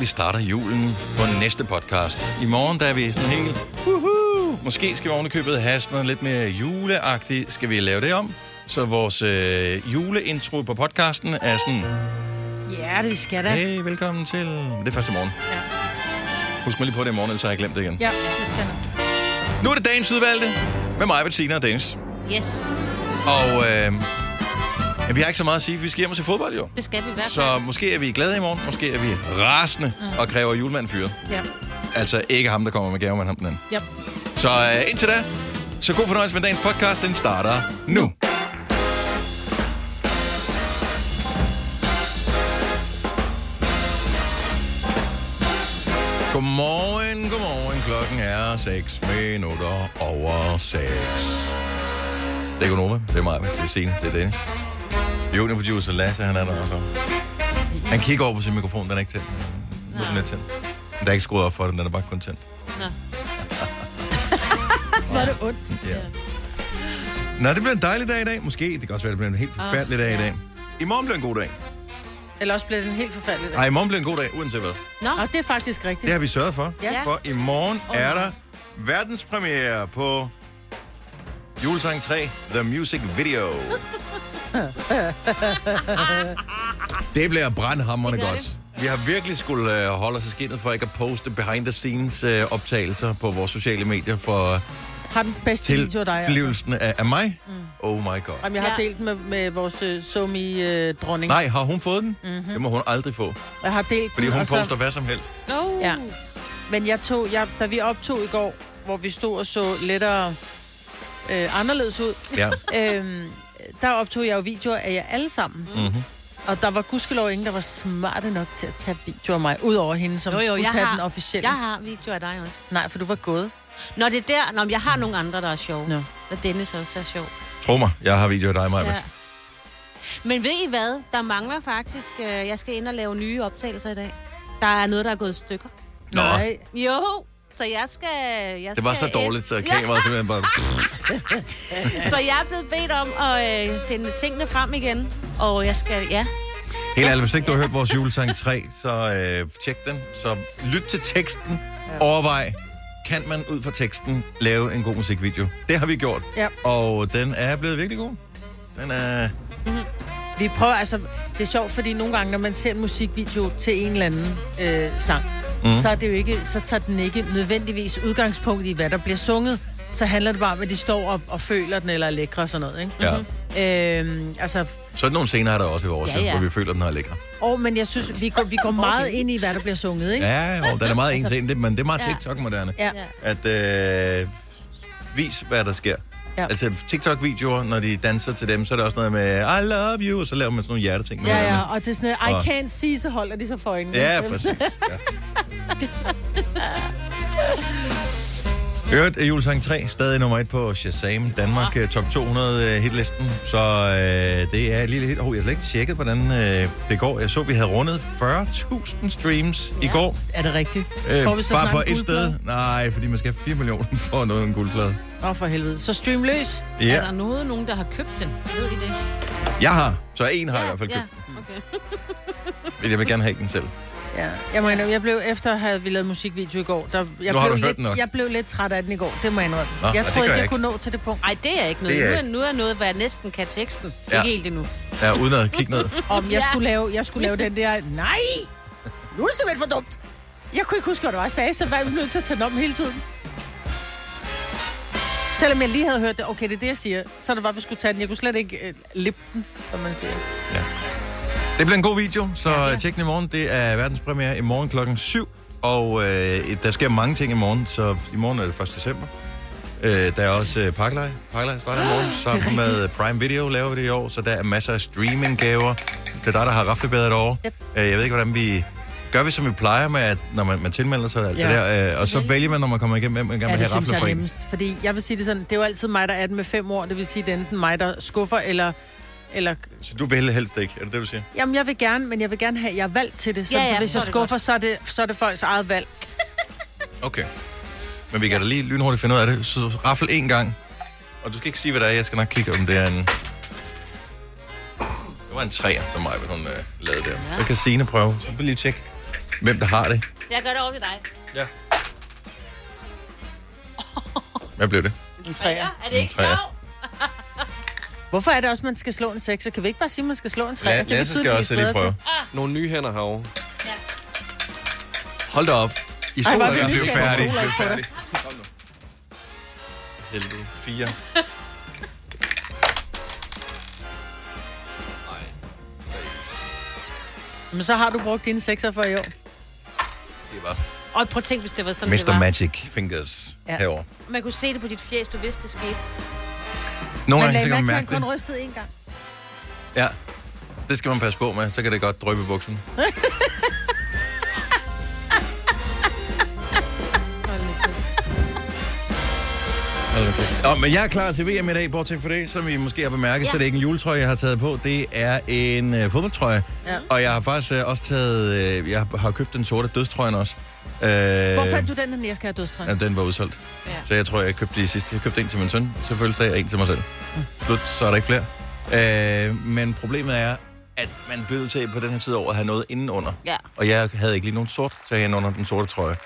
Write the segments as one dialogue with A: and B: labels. A: vi starter julen på næste podcast. I morgen, der er vi sådan helt... Uhu! Måske skal vi ovenikøbet have sådan noget lidt mere juleagtigt. Skal vi lave det om? Så vores øh, juleintro på podcasten er sådan...
B: Ja, det skal da.
A: Hey, velkommen til... Det er første morgen.
B: Ja.
A: Husk mig lige på det i morgen, ellers har jeg glemt det igen.
B: Ja, det skal da.
A: Nu er det dagens udvalgte med mig, Bettina og Dennis.
C: Yes,
A: Og øh, ja, vi har ikke så meget at sige, for vi skal hjem og se fodbold jo.
C: det skal vi i hvert fald.
A: Så måske er vi glade i morgen, måske er vi rasende
B: Mm.
A: og kræver julemanden fyret.
B: Ja.
A: Altså ikke ham, der kommer med gaver, men ham den anden.
B: Ja.
A: Så øh, indtil da, så god fornøjelse med dagens podcast. Den starter nu. Godmorgen, godmorgen. Klokken er 6 minutter over 6. Det er Gunova, det er mig, det er Signe, det er Dennis. Junior producer Lasse, han er der også. Han kigger over på sin mikrofon, den er ikke tændt. Nu er den er tændt. Der er ikke skruet op for den, den er bare kun tændt.
B: Var det ondt?
A: Ja. Nå, det bliver en dejlig dag i dag. Måske. Det kan også være, det bliver en helt forfærdelig dag i dag. I morgen bliver en god dag.
B: Eller også bliver det en helt forfærdelig dag.
A: Nej, i morgen bliver en god dag, uanset hvad.
B: Og det er faktisk rigtigt.
A: Det har vi sørget for.
B: Ja.
A: For i morgen er der verdenspremiere på julesang 3, The Music Video. det bliver brandhammerende
C: Det gør
A: godt.
C: det.
A: Vi har virkelig skulle øh, holde os i skinnet for ikke at poste behind the scenes øh, optagelser på vores sociale medier for
B: Har den bedste video af dig. Altså.
A: tilblivelsen af, af mig. Oh my god.
B: Jamen, jeg har
C: Ja.
B: delt den med, med vores uh, somi-dronning.
A: Nej, har hun fået den?
C: Mhm.
A: Mm-hmm. Det må hun aldrig få,
B: jeg har delt
A: fordi
B: den,
A: hun
B: og så-
A: poster hvad som helst.
C: No.
B: Ja. Men jeg tog, jeg, da vi optog i går, hvor vi stod og så lettere øh, anderledes ud,
A: Ja.
B: øh, der optog jeg jo videoer af jer alle sammen.
A: Mm-hmm.
B: Og der var gudskelov ingen, der var smarte nok til at tage videoer af mig, udover hende, som
C: Jo, jo,
B: skulle
C: jeg
B: tage
C: har,
B: den officielle.
C: Jeg har video af dig også.
B: Nej, for du var gået.
C: Nå, det er der. Nå, men jeg har nogle andre, der er sjove.
B: Nå.
C: Og Dennis også er sjov.
A: Tro mig, jeg har video af dig, Maja.
C: Ja.
A: Ja.
C: Men ved I hvad? Der mangler faktisk... Øh, jeg skal ind og lave nye optagelser i dag. Der er noget, der er gået i stykker.
A: Nå,
B: Nej.
C: Jo, så jeg skal... Jeg
A: det var så
C: skal
A: dårligt, så
C: ind- Ah.
A: kameraet simpelthen bare...
C: Ja, så jeg er blevet bedt om at øh, finde tingene frem igen. Og jeg skal... Ja,
A: Helt ærligt, hvis ikke du har hørt vores julesang 3, så øh, tjek den. Så lyt til teksten. Overvej, kan man ud fra teksten lave en god musikvideo? Det har vi gjort.
B: Ja.
A: Og den er blevet virkelig god. Den er...
B: Vi prøver, altså, det er sjovt, fordi nogle gange, når man ser en musikvideo til en eller anden øh, sang, mm. så, er det jo ikke, så tager den ikke nødvendigvis udgangspunkt i, hvad der bliver sunget. Så handler det bare om, at de står og, og føler den, eller er lækre og sådan noget, ikke?
A: Ja.
B: Øhm, altså,
A: Sådan nogle scener er der også i vores,
C: Ja,
A: ja, ja.
C: ja.
A: hvor vi føler, den er lækker.
B: og, men jeg synes, vi går, vi går meget ind i, hvad der bliver sunget, ikke?
A: Ja, og den er meget en til en, det- men det er meget
C: Altså- Ja.
A: TikTok-moderne.
B: Ja.
C: Ja.
A: at øh, vis, hvad der sker.
B: Ja.
A: Ja. Altså TikTok-videoer, når de danser til dem, så er det også noget med, I love you, og så laver man sådan nogle hjerteting. med
B: Ja,
A: hænderne.
B: ja, og det er sådan
A: Og-
B: noget, I can't see, så holder de så for øjnene.
A: Ja, præcis. Ja. I Øvrigt er julesang 3 stadig nummer 1 på Shazam.
B: Ah.
A: Danmark ja. top 200 øh, hitlisten, så øh, det er et lille hit. Oh, jeg har slet ikke tjekket, hvordan øh, det går. Jeg så, vi havde rundet 40.000 streams ja. i går.
B: Er det rigtigt?
A: Øh,
B: Får vi så
A: bare
B: snart
A: på
B: en
A: et sted.
B: guldplade?
A: Nej, fordi man skal have 4 millioner for at nå en guldplade.
B: Åh, oh, for helvede. Så stream løs.
A: Ja.
C: er der noget, nogen, der har købt den? Ved I det?
A: Jeg har. Så en har jeg i hvert fald
C: ja.
A: købt. Men jeg vil gerne have den selv.
B: Ja, jeg, må indrømme, jeg blev efter at have vi lavet musikvideo i går. Der, jeg blev
A: har du
B: lidt,
A: hørt den nok.
B: Jeg blev lidt træt af den i går, det må jeg indrømme.
A: Nå, ja,
B: jeg
A: det
B: troede ikke,
A: gør jeg
B: jeg kunne nå til det punkt.
C: Ej, det er ikke noget.
A: Det er
C: nu, er,
A: ikke.
C: nu er noget, hvor jeg næsten kan teksten.
A: Ja.
C: Ja. Ikke helt endnu.
A: Ja, uden at kigge ned.
B: Om jeg,
C: Ja.
B: skulle lave, jeg skulle lave den der, nej, nu er det simpelthen for dumt. Jeg kunne ikke huske, hvad det var, jeg sagde, så var jeg nødt til at tage den om hele tiden. Selvom jeg lige havde hørt det, okay, det er det, jeg siger, så er det bare, vi skulle tage den. Jeg kunne slet ikke øh, lippe den, som man siger.
A: Det bliver en god video, så ja, tjek den i morgen. Det er verdenspremiere i morgen klokken 7. Og øh, der sker mange ting i morgen, så i morgen er det 1. december. Øh, der er også øh, Parkleje. Parkleje starter i morgen. Sammen med Prime Video laver vi det i år, så der er masser af streaminggaver. Det er dig, der har raflebæret et år. Yep. Øh, jeg ved ikke, hvordan vi... Gør vi, som vi plejer med, at når man, man tilmelder sig og alt
B: Ja,
A: det der, øh, og så vælger man, når man kommer igennem, hvem man gerne
B: Ja,
A: vil
B: det
A: have
B: synes
A: rafler
B: jeg
A: for
B: er
A: en.
B: nemmest. Fordi jeg vil sige det sådan, det er jo altid mig, der er den med fem år. Det vil sige, det er enten mig, der skuffer, eller... eller
A: Så du vil helst ikke, er det det, du siger?
B: jamen, jeg vil gerne, men jeg vil gerne have, jeg er valgt til det. Så, ja,
C: Ja,
B: ja,
C: ja,
B: så hvis
C: så
B: jeg
C: er det
B: skuffer,
C: godt.
B: så er, det, så er det folks eget valg.
A: Okay. Men vi kan da lige lynhurtigt finde ud af det. Så raffel en gang. Og du skal ikke sige, hvad det er. Jeg skal nok kigge, om det er en... Det var en træer, som mig, hun øh, lavede der. Ja. Så kan Signe prøve. Så vil jeg lige tjekke. hvem der har det.
C: Jeg gør det over til dig.
D: Ja.
A: Hvad blev det?
B: En træer.
C: Er det ikke
A: træer.
C: sjovt?
B: Hvorfor er det også, man skal slå en sekser? Kan vi ikke bare sige, at man skal slå en træer?
A: La-
B: Det er
A: Lasse skal
B: betydeligt
A: også lige
B: bedre
A: prøve.
B: til.
D: Nogle nye hænder herovre.
C: Ja.
D: Hold da op. I
B: Ej,
D: stod
B: hvor
D: der.
B: er vi
A: Bliv
B: nysgerrige.
A: færdig.
B: stoler
A: Bliv
B: ikke på
A: færdig.
D: Helvede.
A: Fire.
B: Men så har du brugt dine sekser for i år.
A: Det var
C: Og prøv at tænke, hvis det var sådan, det
A: Mr.
C: var.
A: Magic Fingers
B: Ja.
A: herovre.
C: Man kunne se det på dit fjes, du vidste, det skete.
A: Nogle
B: Men
A: gange
B: lad
A: så
B: mærke
A: kan man
B: til, at han
A: mærke
B: kun
A: det.
B: rystede én gang.
A: Ja. Det skal man passe på med, så kan det godt drøbe i buksen. Okay. Nå, men jeg er klar til VM i dag, bortset for det, som I måske har bemærket, ja. så det er ikke en juletrøje, jeg har taget på. Det er en øh, fodboldtrøje. Ja. Og jeg har faktisk øh, også taget, øh, jeg har- har købt den sorte dødstrøjen også. Øh,
B: Hvor fandt du den, når jeg skal have dødstrøm?
A: Ja, den var udsolgt. Ja.
C: Ja.
A: Så jeg tror, jeg købte de sidste. Jeg købte en til min søn, så følte jeg en til mig selv. Slut, så er der ikke flere. Øh, men problemet er, at man blev til på den her tid over at have noget indenunder.
C: Ja.
A: Og jeg havde ikke lige nogen sort, så jeg havde under den sorte trøje.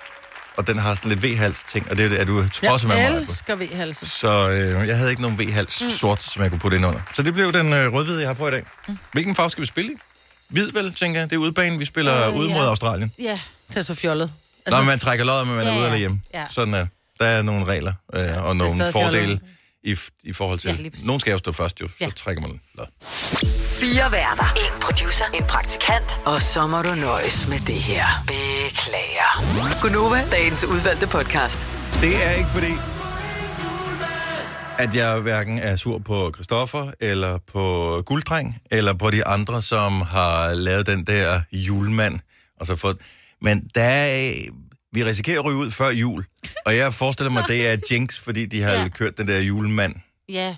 A: Og den har sådan lidt V-hals ting, og det er det, at du tosser med
B: Jeg
A: mig. Maja.
B: elsker V-halse.
A: Så øh, jeg havde ikke nogen V-hals mm. sort, som jeg kunne putte ind under. Så det blev den øh, rødhvide, jeg har på i dag. Mm. Hvilken farve skal vi spille i? Hvid vel, tænker jeg. Det er udebane. Vi spiller øh,
C: Øh,
A: ude
C: ja.
A: mod Australien.
C: Ja.
B: Det er så fjollet.
A: Altså, Nå, men man trækker lodder, men man ja,
C: Ja,
A: er ude
C: ja.
A: eller hjemme. Ja.
C: Ja.
A: Sådan er Der er nogle regler øh, og nogle
B: stadig
A: fordele
B: fjollet.
A: i, f- i forhold til...
C: Ja,
A: Ja,
C: lige præcis.
A: Nogen skal jo stå først jo, så ja.
C: Ja.
A: trækker man lod.
E: Fire værter. En producer. En praktikant. Og så må du nøjes med det her. Beklager. Gunova, dagens udvalgte podcast.
A: Det er ikke fordi, at jeg hverken er sur på Christoffer, eller på Gulddreng, eller på de andre, som har lavet den der julemand. Og så fået... Men der er... Vi risikerer at ryge ud før jul. Og jeg forestiller mig, det er jinx, fordi de har ja.
C: Ja.
A: kørt den der julemand
C: Ja.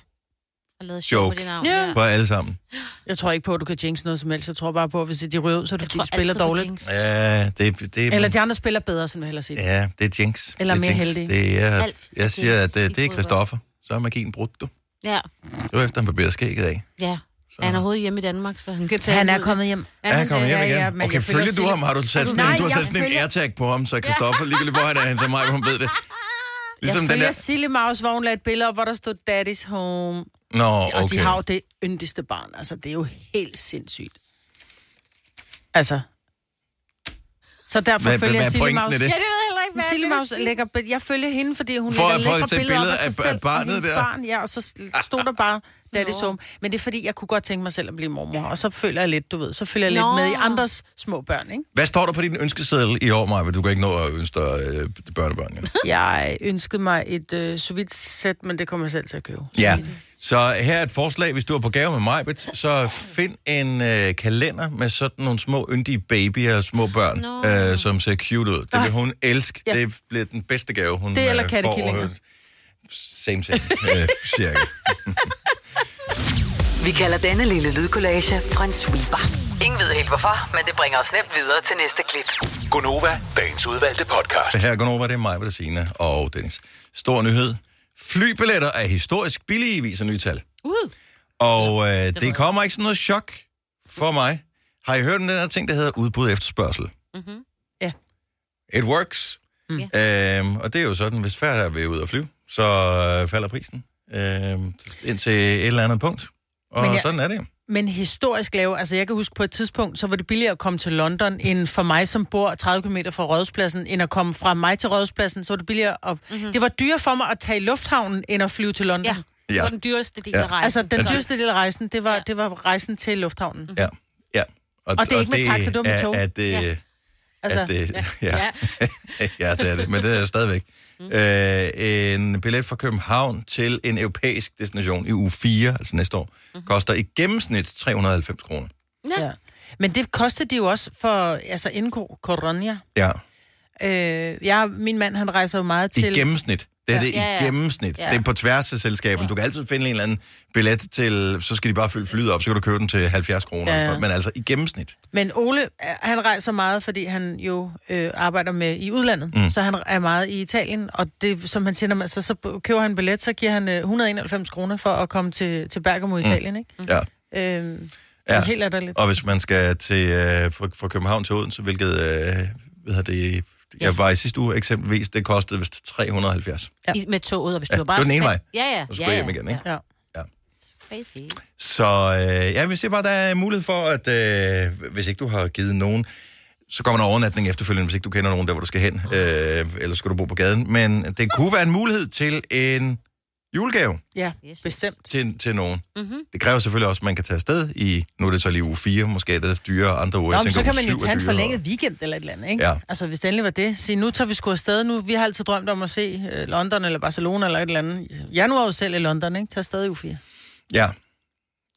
C: Og lavet sjov
A: Joke.
C: på dit navn.
B: Ja.
A: på alle sammen.
B: Jeg tror ikke på, at du kan jinx noget som helst. Jeg tror bare på, at hvis de ryger ud, så er det fordi,
C: tror
B: de spiller
C: altid på
B: dårligt.
C: Jinx.
A: Ja, det, det,
B: Eller de andre spiller bedre, som jeg hellere sige.
A: Ja, det er Jinx.
B: Eller
A: det er
B: mere
A: jinx.
B: heldige.
A: Det er,
C: Alt er
A: jeg siger,
C: jinx
A: at det,
C: i
A: det er
C: fodbold.
A: Christoffer. Så er magien brudt, du.
C: Ja.
A: Det var efter, han barberede skægget af.
C: Ja. Er han overhovedet hjemme i Danmark, så han kan tage
B: Han er
C: ud?
B: kommet hjem.
A: Ja, han kommer hjem
B: ja,
A: igen.
B: ja, men
A: okay,
B: jeg følger
A: følger du
B: Sille.
A: ham? Har du sat sådan,
B: Nej,
A: en, du har
B: jeg
A: sat sådan en
B: følger-
A: AirTag på ham, så Christoffer ligegyldigt, hvor han er, han så mig, hun ved det. Ligesom
B: jeg
A: den
B: følger
A: der...
B: Silly Mouse, hvor hun lagde et billede op, hvor der stod Daddy's Home.
A: Nå,
B: Og
A: okay.
B: de har jo det yndigste barn. Altså, det er jo helt sindssygt. Altså. Så derfor hvad,
A: Hvad-
B: følger
A: hvad er
B: jeg Silly
A: pointen i
B: Mouse.
A: det?
C: Ja, det ved jeg heller ikke,
B: Men
C: hvad
B: Silly
C: jeg vil
B: Mouse
C: sige.
B: lægger, bi- jeg følger hende, fordi hun
A: For-
B: lægger
A: for at
B: lækre
A: tage
B: billeder op
A: billeder
B: af
A: af-
B: sig
A: af
B: selv og
A: barnet
B: hendes
A: der.
B: barn. Ja, og så s- stod der bare Daddy's Home. Men det er fordi, jeg kunne godt tænke mig selv at blive mormor. Og så følger jeg lidt, du ved, så følger jeg
C: Nå.
B: lidt med i andres små børn, ikke?
A: Hvad står der på din ønskeseddel i år, Maja? Du kan ikke nå at ønske dig øh, børnebørn. Ja.
B: Jeg ønskede mig et øh, sous vide sæt, men det kommer jeg selv til at købe.
A: Ja, så her er et forslag, hvis du er på gave med mig, så find en øh, kalender med sådan nogle små yndige babyer og små børn,
C: Nå.
A: no. øh, som ser cute ud. Det vil hun elske. Ja.
B: Ja.
A: Det bliver den bedste gave, hun
B: Det eller
A: øh,
B: kattekillinger.
A: får. Same, same, øh, cirka.
E: Vi kalder denne lille lydkollage en sweeper. Ingen ved helt hvorfor, men det bringer os nemt videre til næste klip.
F: Gunova, dagens udvalgte podcast.
A: Det her går over, det er mig, der Signe og Dennis. Stor nyhed. Flybilletter er historisk billige, viser nye tal.
C: Uh.
A: Og øh, det kommer ikke sådan noget chok for mig. Har I hørt om den her ting, der hedder udbud og efterspørgsel?
C: Mhm.
B: Ja.
A: It works. Mm.
C: Mm.
A: Øhm, og det er jo sådan, hvis færre er ved ud at flyve, så øh, falder prisen øhm, indtil et eller andet punkt. Og
B: Men
A: jeg...
B: jeg-
A: sådan er det.
B: Men historisk lave, altså jeg kan huske på et tidspunkt, så var det billigere at komme til London, end for mig, som bor 30 km fra Rådhuspladsen, end at komme fra mig til Rådhuspladsen, så var det billigere at... Mm-hmm. Det var dyrere for mig at tage i lufthavnen, end at flyve til London.
C: Ja.
A: Ja.
C: Det var den dyreste del af rejsen.
B: Altså, den
A: det-
B: dyreste del af rejsen, det var, det var rejsen til lufthavnen.
A: Ja. ja.
B: Og det er ikke med taxa, det er med
A: er-
B: tog.
A: Er det,
C: Ja.
B: Altså,
A: altså, er det, ja. ja.
C: Ja.
A: ja, det er det, men det er stadigvæk. Mm. Øh, en billet fra København til en europæisk destination i uge 4, altså næste år, mm. koster i gennemsnit 390 kroner.
B: Ja. Men det kostede de jo også for, altså inden ko- corona.
A: Ja,
B: Øh, jeg, min mand, han rejser jo meget
A: i
B: til...
A: gennemsnit. Det er det
C: Ja,
A: i
C: ja.
A: gennemsnit.
C: Ja.
A: Det er på tværs af selskaberne. Du kan altid finde en eller anden billet til, så skal de bare fylde flyet op, så kan du købe den til 70 kroner.
B: Ja, ja.
A: Ja. Men altså i gennemsnit.
B: Men Ole, øh, han rejser meget, fordi han jo øh, arbejder med i udlandet, mm. så han er meget i Italien, og det, som han siger, når man, så, så køber han en billet, så giver han øh, 191 kroner for at komme til, til Bergamo i Italien, ikke?
A: Ja.
B: Øh,
A: Ja.
B: Mm. ja. Helt latterligt.
A: Og hvis man skal til, øh, fra, fra København til Odense, hvilket øh, hvad hedder det, jeg var i sidste uge eksempelvis, det kostede vist 370.
C: Ja. I, med toget, og hvis
A: Ja,
C: du var bare...
A: det var den ene
C: sat-
A: vej.
C: Ja, ja.
A: Og så skulle
C: ja,
A: jeg hjem igen, ikke?
C: Ja.
B: Ja.
C: Crazy.
A: Så øh, ja, vi ser bare, der er mulighed for, at øh, hvis ikke du har givet nogen, så kommer der overnatning efterfølgende, hvis ikke du kender nogen der, hvor du skal hen, øh, eller skal du bo på gaden. Men det kunne være en mulighed til en julegave
B: Ja,
C: Yes,
B: bestemt.
A: til, til nogen.
C: Mhm.
A: Det kræver selvfølgelig også, at man kan tage afsted i, nu er det så lige uge 4, måske er det dyrere, andre uger.
B: Nå,
A: jeg
B: men så
A: tænker,
B: kan man
A: uge
B: jo
A: syv er
B: tage en
A: dyrere.
B: forlænget weekend eller et eller andet, ikke?
A: Ja.
B: Altså, hvis det endelig var det. Sige, nu tager vi sgu afsted nu. Vi har altid drømt om at se øh, London eller Barcelona eller et eller andet. Januar er jo selv i London, ikke? Tag afsted i uge 4.
A: Ja.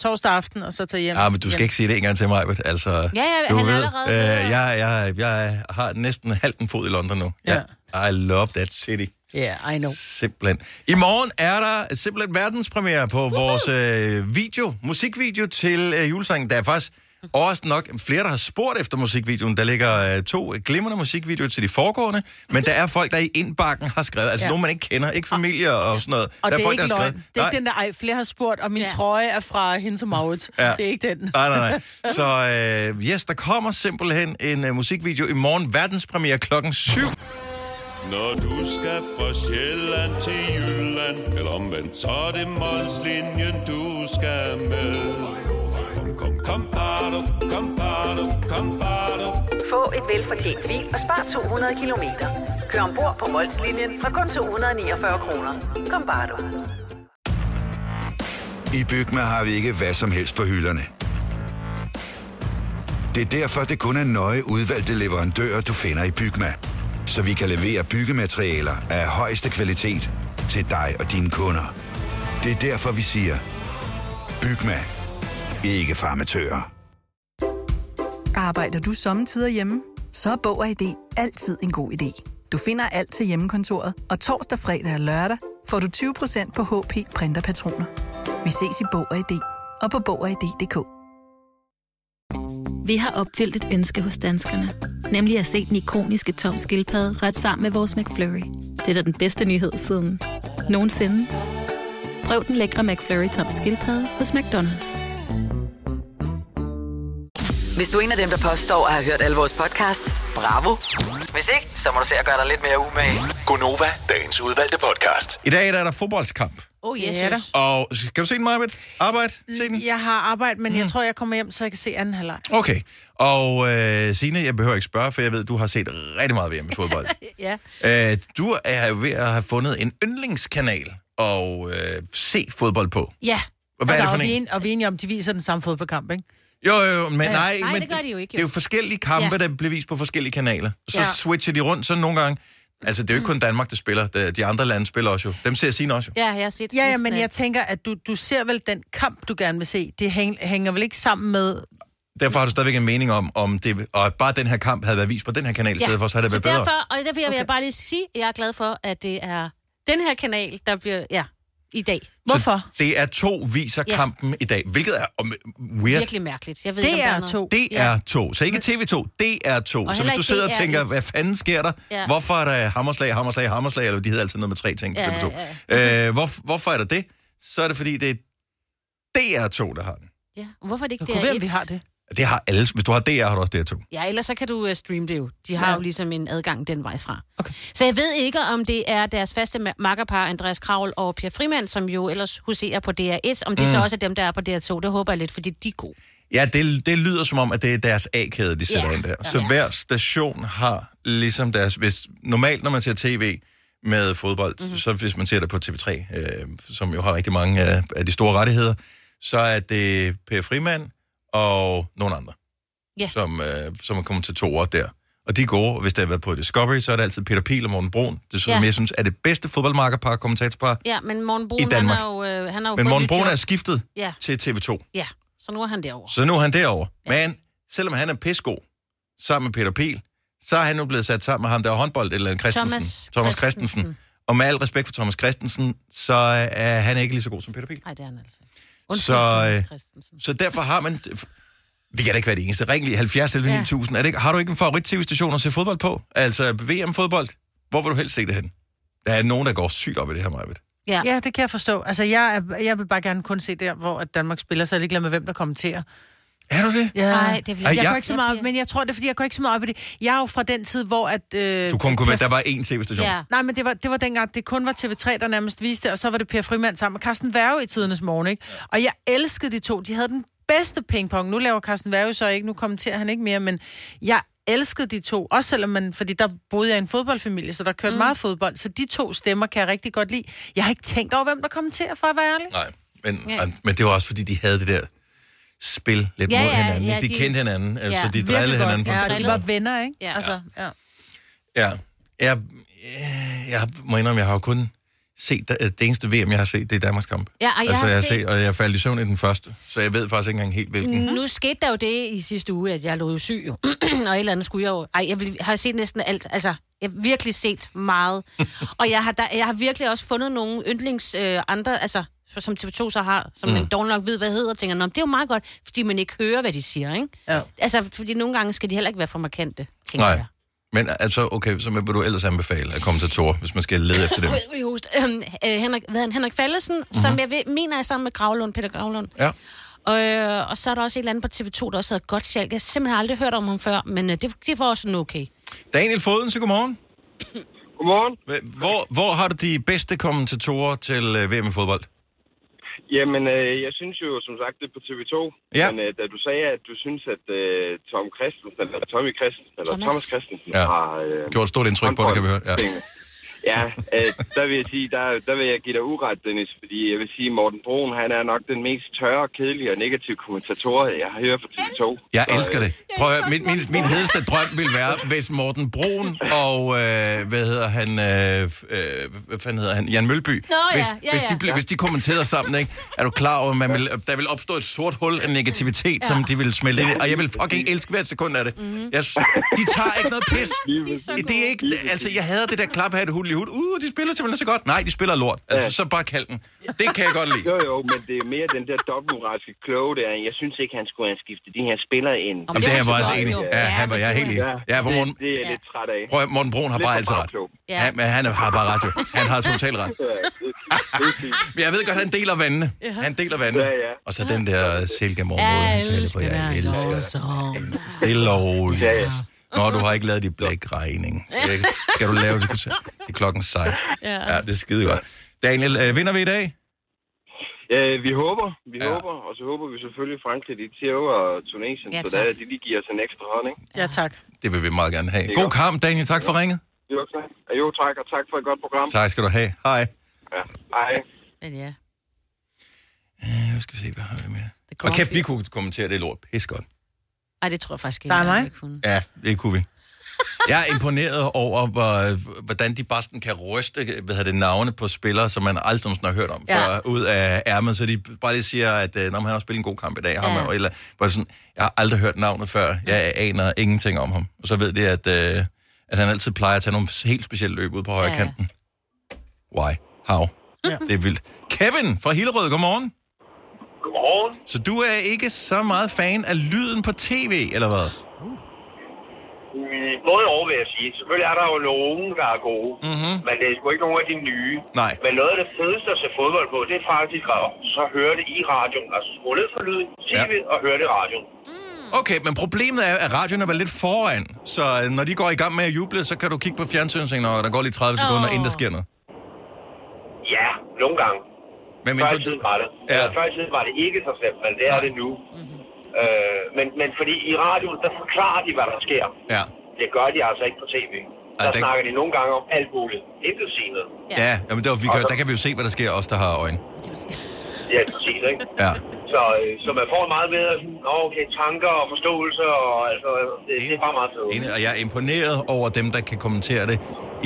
B: Torsdag aften, og så tager hjem.
A: ja, men du skal ikke sige det en gang til mig, men altså...
C: Ja, ja,
A: Du
C: han er
A: ved,
C: allerede...
A: øh, jeg, jeg, jeg har næsten halvt en fod i London nu.
B: Ja.
A: Jeg, I love that city.
B: Ja, yeah, I know.
A: Simpelthen. I morgen er der simpelthen verdenspremiere på Woohoo! vores øh, video, musikvideo til øh, julesangen. Der er faktisk også nok flere, der har spurgt efter musikvideoen. Der ligger øh, to glimrende musikvideoer til de foregående, men der er folk, der i indbakken har skrevet, altså
B: Ja.
A: ja. nogen, man ikke kender, ikke familier og sådan noget.
B: Og
A: der
B: det er
A: folk,
B: ikke
A: der
B: løgn. Det er ikke den der, ej, flere har spurgt, og min ja.
C: Ja.
B: trøje er fra hende som Maurits. Ja.
A: Ja.
B: Det er ikke den.
A: Nej, nej, nej. Så øh, yes, der kommer simpelthen en øh, musikvideo i morgen, verdenspremiere klokken 7.
G: Når du skal fra Sjælland til Jylland Eller omvendt, så er det Molslinjen, du skal med Kom, kom, kom, bado, kom, bado, kom, bado.
E: Få et velfortjent bil og spar 200 kilometer. Kør ombord på Molslinjen fra kun 249 kroner. Kom bare du.
H: I Bygma har vi ikke hvad som helst på hylderne. Det er derfor, det kun er nøje udvalgte leverandører, du finder i Bygma. Så vi kan levere byggematerialer af højeste kvalitet til dig og dine kunder. Det er derfor, vi siger, Bygma. Ikke farmatører.
I: Arbejder du sommetider hjemme? Så er Bog og ID altid en god idé. Du finder alt til hjemmekontoret, og torsdag, fredag og lørdag får du 20% på HP Printerpatroner. Vi ses i Bog og ID og på Bog og ID.dk.
J: Vi har opfyldt et ønske hos danskerne. Nemlig at se den ikoniske tom skildpadde ret sammen med vores McFlurry. Det er da den bedste nyhed siden nogensinde. Prøv den lækre McFlurry tom skildpadde hos McDonald's.
E: Hvis du er en af dem, der påstår at have hørt alle vores podcasts, bravo. Hvis ikke, så må du se at gøre dig lidt mere umage.
F: Gonova, dagens udvalgte podcast.
A: I dag der er der fodboldskamp.
C: Oh, yes,
B: Ja, da.
C: yes.
A: Og skal du se den, Marbet? Arbejde? Se den?
B: Jeg har arbejde, men jeg
A: Mm.
B: tror, jeg kommer hjem, så jeg kan se anden halvleg.
A: Okay. Og øh, Signe, jeg behøver ikke spørge, for jeg ved, du har set rigtig meget VM i fodbold.
C: Ja.
A: øh, du er jo ved at have fundet en yndlingskanal og øh, se fodbold på.
B: Ja.
A: Og hvad er det for
B: Altså, og, vi
A: en?
B: en, og vi er enige om, de viser den samme fodboldkamp, ikke?
A: Jo, jo, jo, men nej.
C: det
A: men
C: gør de jo ikke, jo.
A: Det er jo forskellige kampe, ja. der bliver vist på forskellige kanaler. Så ja. switcher de rundt sådan nogle gange. Altså, det er jo ikke kun Danmark, der spiller. Det er- De andre lande spiller også jo. Dem ser Signe også jo.
C: Ja, jeg har set
B: Ja, ja,
C: resten
B: men
C: af-
B: jeg tænker, at du, du ser vel den kamp, du gerne vil se. Det hæng, hænger vel ikke sammen med...
A: Derfor har du stadigvæk en mening om, om det, og bare den her kamp havde været vist på den her kanal i stedet for, så havde det
C: så
A: været bedre.
C: Derfor, og derfor jeg vil
B: Okay.
C: jeg bare lige sige, at jeg er glad for, at det er den her kanal, der bliver... Ja, i dag.
B: Hvorfor?
A: Så det er to viser
C: Ja.
A: kampen i dag, hvilket er om- weird.
C: Virkelig mærkeligt. Jeg ved
B: Det
C: ikke, om der
B: er
C: noget-
B: to.
A: Det er to. Så ikke TV2, det er to.
C: Og
A: så
C: heller
A: hvis du
C: ikke
A: sidder og
C: DR1.
A: tænker, hvad fanden sker der?
C: Ja.
A: Hvorfor er der hammerslag, hammerslag, hammerslag? Eller de hedder altid noget med tre ting på
C: Ja,
A: TV2.
C: ja,
A: Øh, hvor, hvorfor er der det? Så er det, fordi det er DR2, der har den.
C: Ja. Hvorfor er det ikke
B: Det
C: det
B: kunne
C: er
B: være,
C: et?
B: vi har det.
A: Det har alle. Hvis du har DR, har du også DR2.
C: Ja, ellers så kan du øh, streame det jo. De har
B: Ja.
C: ja. jo ligesom en adgang den vej fra.
B: Okay.
C: Så jeg ved ikke, om det er deres faste ma- makkerpar, Andreas Kravl og Pia Frimand, som jo ellers huserer på DR1, om det
A: Mm.
C: så også er dem, der er på DR2. Det håber jeg lidt, fordi de er gode.
A: Ja, det, det lyder som om, at det er deres A-kæde, de sætter
C: Ja.
A: yeah. ind der. Så yeah. hver station har ligesom deres... Hvis, normalt, når man ser tv med fodbold,
C: Mhm.
A: mm-hmm. så hvis man ser det på TV3, øh, som jo har rigtig mange af, af de store rettigheder, så er det Per Frimand og nogle andre,
C: Ja.
A: som, øh, som er kommet til to år der. Og de er gode. Hvis det har været på Discovery, så er det altid Peter Piel og Morten Brun. Det synes
C: Ja.
A: yeah. jeg synes er det bedste fodboldmarkerpar, kommentatorpar.
C: Ja, men Morten
A: I
C: Brun, han
A: Danmark.
C: har jo, øh, han har jo
A: Men
C: fået
A: Morten
C: nyt
A: Brun
C: job.
A: er skiftet
C: Ja.
A: til TV2.
C: Ja, så nu er han derovre.
A: Så nu er han derovre. Ja. Men selvom han er pissegod sammen med Peter Pil, så er han nu blevet sat sammen med ham, der er håndbold eller en Christensen.
C: Thomas
A: Thomas
C: Christensen.
A: Christensen. Og med al respekt for Thomas Christensen, så er han ikke lige så god som Peter Pil.
C: Nej, det er han altså. ikke.
A: Så,
C: Undskyld,
A: øh,
C: Thomas Christensen.
A: Så derfor har man... Vi kan da ikke være det eneste. Ring lige 70 11
C: Ja.
A: 9000. Er det ikke, har du ikke en favorit-tv-station at se fodbold på? Altså VM-fodbold? Hvor vil du helst se det hen? Der er nogen, der går sygt op i det her, Majbet.
C: Ja.
B: Ja, det kan jeg forstå. Altså, jeg, er, jeg vil bare gerne kun se der, hvor at Danmark spiller, så jeg er ligeglad med, hvem der kommenterer.
A: Er du det?
B: Ja.
C: Ej, det vil
B: jeg,
A: Ej,
B: jeg
A: jeg-
B: går ikke så meget op, men jeg tror, det er, fordi jeg går ikke så meget op i det. Jeg er jo fra den tid, hvor at... Øh,
A: Du kun kunne være, der var én tv-station.
B: Ja. Nej, men det var, det var dengang, det kun var TV3, der nærmest viste det, og så var det Per Frimand sammen med Carsten Værge i tidernes morgen, ikke? Og jeg elskede de to. De havde den bedste pingpong. Nu laver Carsten Værge så ikke, nu kommenterer han ikke mere, men jeg elskede de to. Også selvom man, fordi der boede jeg i en fodboldfamilie, så der kørte mm. meget fodbold. Så de to stemmer kan jeg rigtig godt lide. Jeg har ikke tænkt over, hvem der kommenterer, for at være ærlig.
A: Nej, men,
B: Ja.
A: ja. men det var også, fordi de havde det der spil lidt
B: Ja,
A: mod
B: ja,
A: hinanden.
B: ja,
A: ikke? de,
B: de-
A: kendte hinanden, altså
B: Ja,
A: ja, de
B: virkelig
A: drillede
B: godt.
A: hinanden. på
B: Ja,
A: en
B: de
A: måde.
B: var venner, ikke? Ja. Altså, ja.
A: Ja. Jeg, øh, jeg må indrømme, jeg har jo kun set, der- det eneste VM, jeg har set, det er Danmarks kamp.
C: Ja, og jeg
A: altså,
C: har
A: jeg
C: set-
A: og jeg faldt i søvn i den første, så jeg ved faktisk ikke engang helt, hvilken.
C: Mm. Nu skete der jo det i sidste uge, at jeg lå jo syg, jo. og et eller andet skulle jeg jo... Ej, jeg vil- har set næsten alt, altså... Jeg har virkelig set meget. og jeg har, der, jeg har virkelig også fundet nogle yndlings øh, andre, altså som TV2 så har, som
K: Mm.
C: man dog nok ved, hvad hedder, og tænker, Nå, men det er jo meget godt, fordi man ikke hører, hvad de siger, ikke?
B: Ja.
C: Altså, fordi nogle gange skal de heller ikke være for markante, tænker
A: Nej.
C: jeg.
A: Men altså, okay, så hvad vil du ellers anbefale af kommentatorer, hvis man skal lede efter dem?
C: Ui, host. Øhm, øh, Henrik, hvad er han? Henrik Fallesen, mm-hmm. som jeg ved, mener er sammen med Gravlund, Peter Gravlund.
A: Mhm. Ja.
C: Og, øh, og så er der også et eller andet på TV2, der også hedder Godt Sjælk. Jeg har simpelthen aldrig hørt om ham før, men øh, det, det var også en okay.
A: Daniel Foden, så godmorgen.
L: Godmorgen.
A: Hvor, hvor har du de bedste kommentatorer til øh, VM i fodbold?
L: Jamen, øh, jeg synes jo, som sagt, det er på TV2.
A: Ja.
L: Men øh, da du sagde, at du synes, at øh, Tom Christensen, eller Tommy Christensen, eller
A: Thomas.
L: Thomas, Thomas Christensen
A: Ja.
L: har... Øh,
A: Gjort et stort indtryk på dig, kan vi høre. Ja.
L: ja, øh, der vil jeg sige, der, der vil jeg give dig uret, Dennis, fordi jeg vil sige, Morten Broen, han er nok den mest tørre, kedelige og negative kommentator, jeg har hørt på TV2.
A: Jeg elsker det. Prøv at, høre, min, min, min hedeste drøm ville være, hvis Morten Broen og, øh, hvad hedder han, øh, øh, hvad fanden hedder han, Jan Mølby,
C: Nå, ja,
A: hvis,
C: ja,
A: hvis,
C: ja.
A: de, blev, hvis de kommenterede sammen, ikke? er du klar over, at man vil, der vil opstå et sort hul af negativitet, ja. som de vil smelte ind i, og jeg vil fucking elske hvert sekund af det. Mm-hmm. Jeg, s- de tager ikke noget pis. Det er ikke, altså, jeg hader det der klaphatte hul i hud. Uh, de spiller simpelthen så godt. Nej, de spiller lort. Altså, så bare kald den. Det kan jeg godt lide.
L: øh, Jo, jo, men det er mere den der dobbeltmoralske kloge der. Jeg synes ikke, han skulle have skiftet de her spillere ind.
A: Jamen, det er jeg bare også enig. i. Ja, han var jeg er helt enig. i. Ja, hvor Morten,
L: Det er jeg lidt træt af.
A: Prøv at, Morten Brun har
L: Lidt
A: bare
L: for
A: altid
L: meget
A: ret.
L: klog.
A: Ja. men han har bare ret, jo. Han har totalt ret. Men jeg ved godt, han deler vandene. Han deler vandene. Og så den der silkemorgen, han taler på. Jeg elsker dig. Stille og roligt. Nå, du har ikke lavet dit blækregning. Skal- Skal du lave det til- til klokken 16?
L: Ja.
A: Ja, det er skide godt. Daniel, øh, vinder vi i dag?
L: Øh, vi håber, vi ja. håber, og så håber vi selvfølgelig Frankrig, de tæver og Tunesien,
B: Ja,
L: ja, så
B: tak.
L: der, de lige giver os en ekstra hånd, ikke?
B: Ja, tak.
A: Det vil vi meget gerne have.
L: Det er
A: God
L: godt.
A: kamp, Daniel. Tak for ringet.
L: Jo, tak. Ja, Jo, tak, og tak for et godt program.
A: Tak skal du have. Hej.
L: Ja. Hej.
B: Men ja.
A: Øh, Hvad skal vi se, hvad har vi mere? Og kæft, vi kunne kommentere det lort. Pis godt.
C: Ej, det tror jeg faktisk ikke.
B: Der er
C: engang,
B: mig.
C: jeg kunne.
A: Ja, det kunne vi. Jeg er imponeret over, hvor- hvordan de bare sådan kan ryste hvad hedder det, navne på spillere, som man aldrig nogensinde har hørt om,
M: Ja.
A: ja. før, ud af ærmet, så de bare lige siger, at øh, Nå, men han har spillet en god kamp i dag, ham,
M: Ja.
A: ja. eller, hvor det sådan, jeg har aldrig hørt navnet før, jeg aner ingenting om ham. Og så ved de, at, øh, at han altid plejer at tage nogle helt specielle løb ud på højre
M: Ja.
A: ja. kanten. Why? How? Ja. Det er vildt. Kevin fra Hillerød, godmorgen.
N: Godmorgen.
A: Så du er ikke så meget fan af lyden på tv, eller hvad?
N: Mm, Både over, vil jeg sige. Selvfølgelig er der jo nogen, der er gode,
A: Mhm.
N: men det er sgu ikke nogen af de nye.
A: Nej.
N: Men noget af det fedeste at se fodbold på, det er faktisk at så høre det i radioen. Altså skru ned for lyden, tv ja. og høre det i radioen.
A: Okay, men problemet er, at radioen er vel lidt foran. Så øh, når de går i gang med at juble, så kan du kigge på fjernsynet og tænke, "Nå, der går lige 30 sekunder,
N: Åh.
A: inden der sker noget.
N: Ja, nogle gange.
A: Men,
N: men, før, i tiden var det. Ja. før i tiden var det ikke så slemt, men det er det nu.
A: Mhm.
N: Øh, men, men fordi i radioen, der forklarer de, hvad der sker.
A: Ja.
N: Det gør de altså ikke på tv. Der
A: det-
N: snakker de nogle gange om alt muligt. Intet
A: Ja, ja jamen, der, vi kan, der kan vi jo se, hvad der sker, os der har øjne.
N: Ja, præcis, ikke?
A: Ja.
N: Så, øh, så man får meget mere sådan, nå, okay, tanker og forståelse, og altså, det, det er bare meget fedt.
A: Ene- Og jeg er imponeret over dem, der kan kommentere det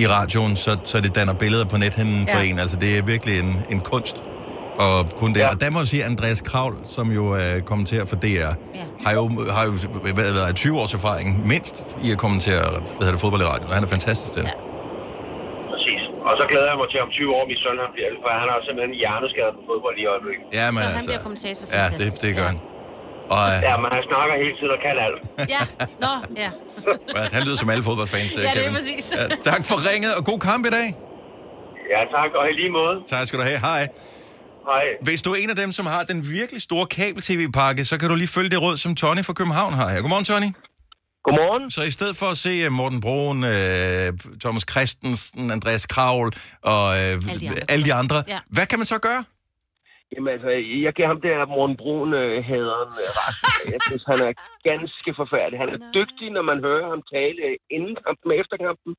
A: i radioen, så, så det danner billeder på nethinden for
N: Ja.
A: en. Altså, det er virkelig en, en kunst. Og kun det. Ja. Og der må jeg sige, at Andreas Kravl, som jo øh, kommenterer for DR, ja. har jo, har jo hvad, været 20 års erfaring mindst i at kommentere hvad hedder det, fodbold i radioen. Og han er fantastisk, den. Ja.
N: Præcis. Og så glæder jeg mig til om 20 år, min søn han bliver, for han har simpelthen hjerneskade på fodbold i øjeblikket.
A: Ja, men
C: Så han
A: altså,
C: bliver kommentator,
A: Ja, det,
C: fantastisk.
A: det gør han. Og
N: Ja, men han snakker hele tiden og kan alt.
C: Ja, nå, ja.
A: øh, han lyder som alle fodboldfans,
C: Ja, det er
A: Kevin.
C: præcis.
A: tak for ringet, og god kamp i dag.
N: Ja, tak, og i lige måde.
A: Tak skal du have. Hej.
N: Hej.
A: Hvis du er en af dem, som har den virkelig store kabel-tv-pakke, så kan du lige følge det råd, som Tony fra København har her. Godmorgen, Tony.
N: Godmorgen.
A: Så i stedet for at se øh, Morten Broen, øh, Thomas Christensen, Andreas Kravl og øh, alle de andre, alle de andre
N: Ja.
A: ja. hvad kan man så gøre?
N: Jamen altså, jeg giver ham der Morten Brun øh, haderen øh, ret. Jeg synes, han er ganske forfærdelig. Han er dygtig, når man hører ham tale øh, inden kampen og efter kampen.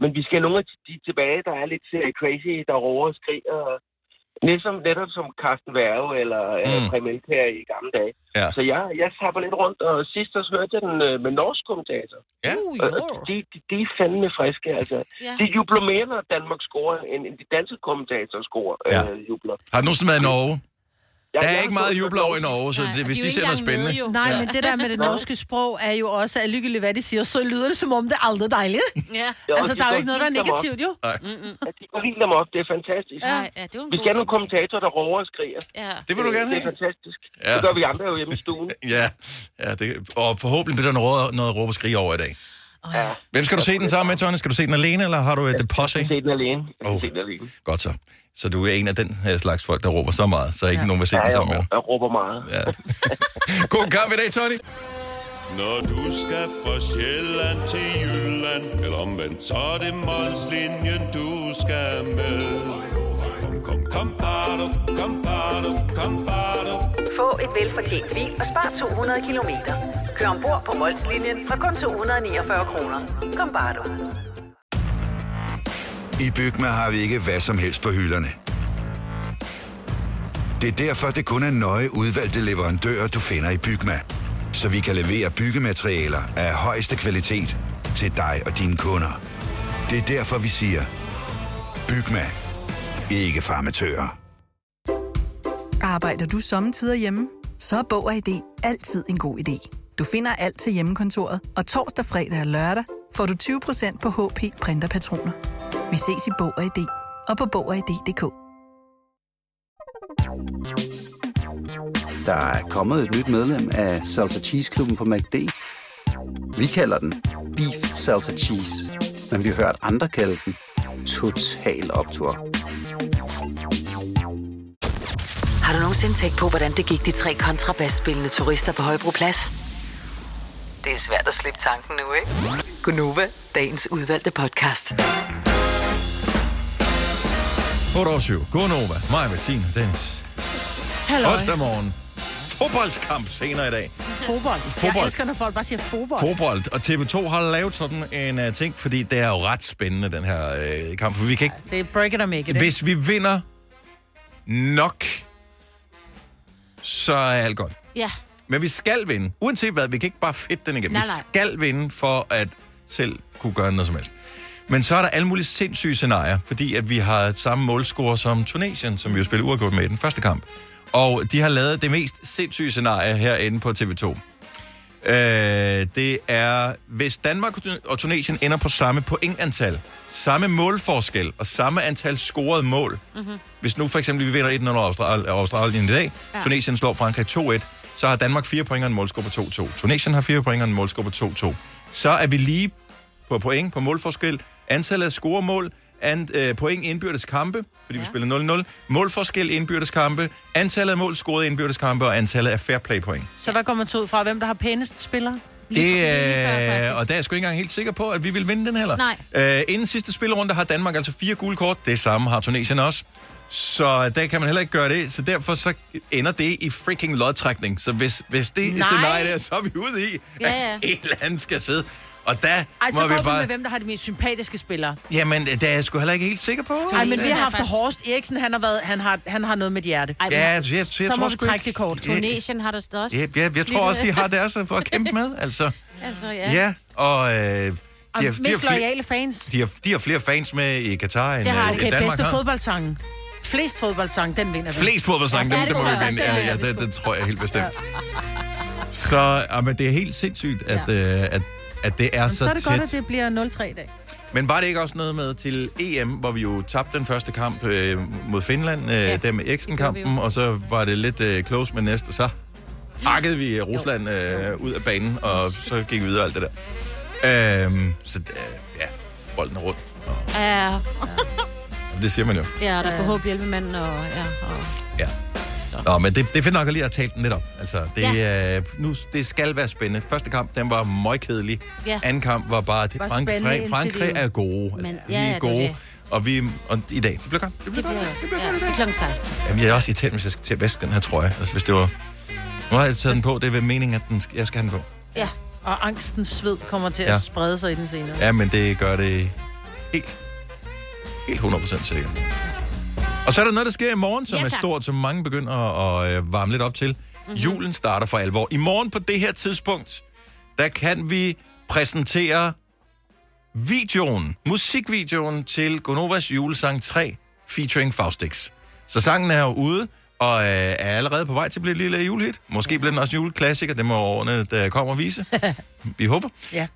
N: Men vi skal have nogle af de- de tilbage, der er lidt øh, crazy, der råber og skriger. Ligesom netop som Carsten Værge eller øh, mm. Prem her i gamle dage.
A: Ja.
N: Så jeg, jeg tapper lidt rundt, og sidst også hørte jeg den øh, med norsk kommentator.
A: Ja.
C: Uh,
N: Og, og de, de, de er fandme friske, altså.
A: Ja.
N: Ja. De jubler mere, når Danmark scorer, end end de danske kommentatorer scorer. Ja. Øh, jubler.
A: Har du nogensinde været i Norge?
N: Ja,
A: Der
N: jeg
A: er
N: har
A: ikke meget
N: stået
A: jubel over i Norge, så det, hvis de, ser noget spændende.
B: Nej, men det der med det norske sprog er jo også, at ligegyldigt hvad de siger, så lyder det som om, det er aldrig dejligt.
C: Ja.
B: Altså, der er jo ikke noget, der er negativt, jo.
A: Nej.
N: Ja, de går helt dem op. Det er fantastisk.
C: Ja, ja, det er jo en
N: vi
C: god
N: skal have nogle kommentatorer, der råber og skriger.
C: Ja.
A: Det vil du gerne
N: Det er
A: have.
N: fantastisk.
A: Ja.
N: Ja. Det gør vi andre jo hjemme i stuen.
A: Ja, ja det, og forhåbentlig bliver der noget, noget råb og skrig over i dag.
N: Ja.
A: Hvem skal du se den sammen med, Tony? Skal du se den alene, eller har du et posse? Jeg
N: skal se den alene.
A: Oh.
N: se den alene.
A: Godt så. Så du er en af den her slags folk, der råber så meget, så ikke nogen vil se
N: Ja,
A: den
N: jeg
A: sammen med dig.
N: Jeg råber meget.
A: Ja. God kamp i dag, Tony.
G: Når du skal fra Sjælland til Jylland Eller omvendt, så er det Molslinjen, du skal med Kom, kom, kom, bado, kom, bado, kom, bado.
E: Få et velfortjent bil og spar 200 kilometer. Kør ombord på Molslinjen fra kun 249 kroner. Kom bare du.
H: I Bygma har vi ikke hvad som helst på hylderne. Det er derfor, det kun er nøje udvalgte leverandører, du finder i Bygma. Så vi kan levere byggematerialer af højeste kvalitet til dig og dine kunder. Det er derfor, vi siger, Bygma. Ikke farmatører.
I: Arbejder du sommetider hjemme? Så er Bog og ID altid en god idé. Du finder alt til hjemmekontoret, og torsdag, fredag og lørdag får du 20% på HP printerpatroner. Vi ses i Bog og ID og på Bog og ID.dk.
K: Der er kommet et nyt medlem af Salsa Cheese Klubben på MACD. Vi kalder den Beef Salsa Cheese, men vi har hørt andre kalde den Total Optor.
E: Har du nogensinde tænkt på, hvordan det gik de tre kontrabasspillende turister på Højbroplads? Det er svært at slippe tanken nu, ikke? Gunova, dagens udvalgte podcast.
A: 8 over 7. God Nova. Maja, Bettina, Dennis.
B: Halløj.
A: Onsdag morgen. Fodboldskamp senere i dag.
B: Fodbold. Jeg
A: Fodbold.
B: elsker, når folk bare siger fodbold.
A: Fodbold. Og TV2 har lavet sådan en uh, ting, fordi det er jo ret spændende, den her uh, kamp. For vi kan ikke...
B: Det er break it or make it, ikke?
A: Hvis vi vinder nok, så er alt godt.
C: Ja.
A: Men vi skal vinde. Uanset hvad, vi kan ikke bare fedte den igennem.
C: Nej,
A: Nej, nej.
C: nej.
A: Vi skal vinde for at selv kunne gøre noget som helst. Men så er der alle mulige sindssyge scenarier, fordi at vi har samme målscore som Tunesien, som vi jo spillede uafgjort med i den første kamp. Og de har lavet det mest sindssyge scenarie herinde på TV2. Øh, det er, hvis Danmark og Tunesien ender på samme pointantal, samme målforskel og samme antal scorede mål,
M: Mm-hmm.
A: hvis nu for eksempel vi vinder 1-0 over Austral- over Australien i dag,
M: Ja.
A: ja. Tunesien slår Frankrig 2-1, så har Danmark 4 point og en målscore på 2-2. Tunesien har 4 point og en målscore på 2-2. Så er vi lige på point, på målforskel, antallet af scoremål, an, øh, point indbyrdes kampe, fordi ja. vi spiller 0-0, målforskel indbyrdes kampe, antallet af mål scorede indbyrdes kampe og antallet af fair play point.
B: Så hvad går man til ud fra? Hvem der har pænest spillere?
A: Det, øh, og der er jeg sgu ikke engang helt sikker på, at vi vil vinde den heller.
B: Nej.
A: Øh, inden sidste spillerunde har Danmark altså fire gule kort. Det samme har Tunesien også. Så der kan man heller ikke gøre det. Så derfor så ender det i freaking lodtrækning. Så hvis, hvis det
B: Nej.
A: scenarie der, så er vi ude i,
B: Ja,
A: at
B: ja.
A: en eller anden skal sidde. Og der
B: Ej, så
A: må
B: går
A: vi
B: vi
A: bare...
B: med, hvem der har de mest sympatiske spillere.
A: Jamen, øh, der er jeg sgu heller ikke helt sikker på.
B: Nej, men vi har haft Horst Eriksen, han har, været, han har, han har noget med et hjerte.
A: Ja, jeg- jeg- jeg
B: så
A: tror
B: må vi
A: sgu
B: trække
A: ikke-
B: det kort.
A: Ja. Tunesien
C: har der også.
A: Ja, jeg, jeg tror også, de har deres for at kæmpe med, altså.
C: Altså,
A: Ja,
C: ja.
A: ja og... Øh, de
B: Og
A: har- de har
B: mest
A: flere-
B: loyale fans.
A: De har, de har flere fans med i Katar, end
B: Det har
A: øh,
B: okay,
A: Danmark
B: bedste
A: har.
B: fodboldsangen. Flest fodboldsange, den vinder vi.
A: Flest fodboldsange, ja,
B: det
A: dem skal
B: tror
A: man
B: jeg.
A: jo vinde.
B: Ja,
A: Ja,
B: ja,
A: ja,
B: det
A: det, det tror jeg helt bestemt. Så ja, men det er helt sindssygt, at, øh, at, at det er
B: Jamen,
A: så,
B: så er det
A: tæt.
B: godt, at det bliver 0-3 i dag.
A: Men var det ikke også noget med til EM, hvor vi jo tabte den første kamp øh, mod Finland, øh, ja, der med Eriksen-kampen, og så var det lidt øh, close med næste, og så hakkede vi Rusland øh, ud af banen, og så gik vi videre og alt det der. Øhm, så øh, ja, bolden er rundt.
C: Ja,
A: Det siger man jo.
C: ja der er forhåbentlig hjælpemanden og... Ja, og...
A: Ja. Nå, men det, det er fedt nok at lige at tale den lidt op. Altså, det, ja. øh, nu, det skal være spændende. Første kamp, den var møgkedelig.
C: Ja.
A: Ja. Anden kamp var bare, det,
C: Var
A: Frank,
C: spændende
A: Frank,
C: indtil
A: Frankrig
C: det jo-
A: er gode. Altså,
C: Men-
A: Men,
C: ja,
A: ja,
C: ja,
A: vi
C: det
A: er
C: er
A: gode.
C: det.
A: Og, vi, og i dag, det bliver godt. Det bliver
C: godt. Det bliver godt. Klokken 16.
A: Jamen, jeg er også irriteret, hvis jeg skal til at vaske den her trøje. Altså, hvis det var... Nu har jeg taget den på, det er ved meningen, at den skal, jeg skal have den på.
B: Ja. Og angstens sved kommer til ja.
A: Ja.
B: at sprede sig i den senere.
A: Ja, men det gør det helt, helt 100% sikkert. Og så er der noget, der sker i morgen, som
B: Ja,
A: ja, er
B: tak.
A: stort, som mange begynder at, at øh, varme lidt op til.
C: Mhm.
A: Mm-hmm. Julen starter for alvor. I morgen på det her tidspunkt, der kan vi præsentere videoen, musikvideoen til Gonovas julesang 3, featuring Faustix. Så sangen er jo ude, og øh, er allerede på vej til at blive et lille julehit. Måske bliver den også juleklassiker, det må årene, der kommer, vise. Vi håber.
C: Ja.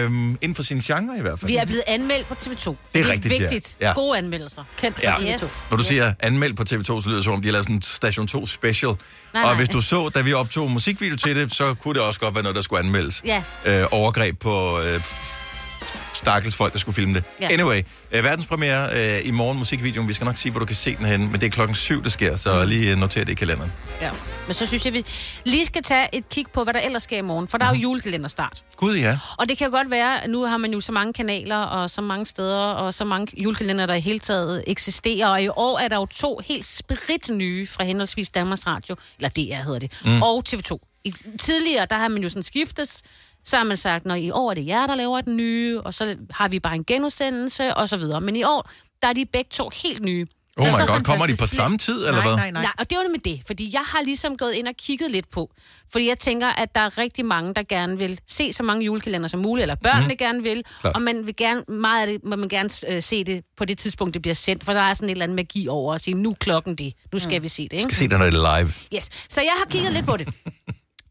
A: Øhm, inden for sin genre i hvert fald.
C: Vi er blevet anmeldt på TV2. Det
A: er rigtigt, ja.
C: vigtigt.
A: Ja.
C: Gode anmeldelser. Kendt
A: Ja.
C: Yes.
A: Når du siger anmeldt på TV2, så lyder det som om, de har lavet sådan en Station 2 special.
C: Nej,
A: Nej, og
C: nej.
A: hvis du så, da vi optog musikvideo til det, så kunne det også godt være noget, der skulle anmeldes.
C: Ja.
A: Øh, overgreb på øh, st- stakkels folk, der skulle filme det.
C: Ja.
A: Ja. Anyway, øh, verdenspremiere øh, i morgen musikvideoen. Vi skal nok sige, hvor du kan se den henne, men det er klokken syv, det sker,
C: Mm.
A: så lige øh, noter det i kalenderen.
C: Ja. Men så synes jeg, vi lige skal tage et kig på, hvad der ellers sker i morgen. For der
A: Mhm.
C: er jo julekalenderstart.
A: Gud ja. Oh
C: Og det kan jo godt være, at nu har man jo så mange kanaler og så mange steder og så mange julekalender, der i hele taget eksisterer. Og i år er der jo to helt sprit nye fra henholdsvis Danmarks Radio, eller DR hedder det, mm.
M: Mm.
C: og TV2. I, tidligere, der har man jo sådan skiftes, så har man sagt, når i år er det jer, der laver den nye, og så har vi bare en genudsendelse og så videre. Men i år, der er de begge to helt nye.
A: Oh
C: Det er
A: my
C: så
A: God, kommer de
C: fantastisk.
A: på samme tid, eller
C: nej,
A: hvad?
C: Nej, nej, nej. Og det var nemlig det, fordi jeg har ligesom gået ind og kigget lidt på. Fordi jeg tænker, at der er rigtig mange, der gerne vil se så mange julekalender som muligt, eller børnene mm.
M: Mhm.
C: gerne vil. Klart.
M: Klart.
C: Og man vil gerne, meget af det må man gerne øh, se det på det tidspunkt, det bliver sendt, for der er sådan et eller andet magi over at sige, nu er klokken det, nu skal mm. vi se det. Ikke?
A: Skal se den, når det er live.
C: Yes. Så jeg har kigget lidt på det.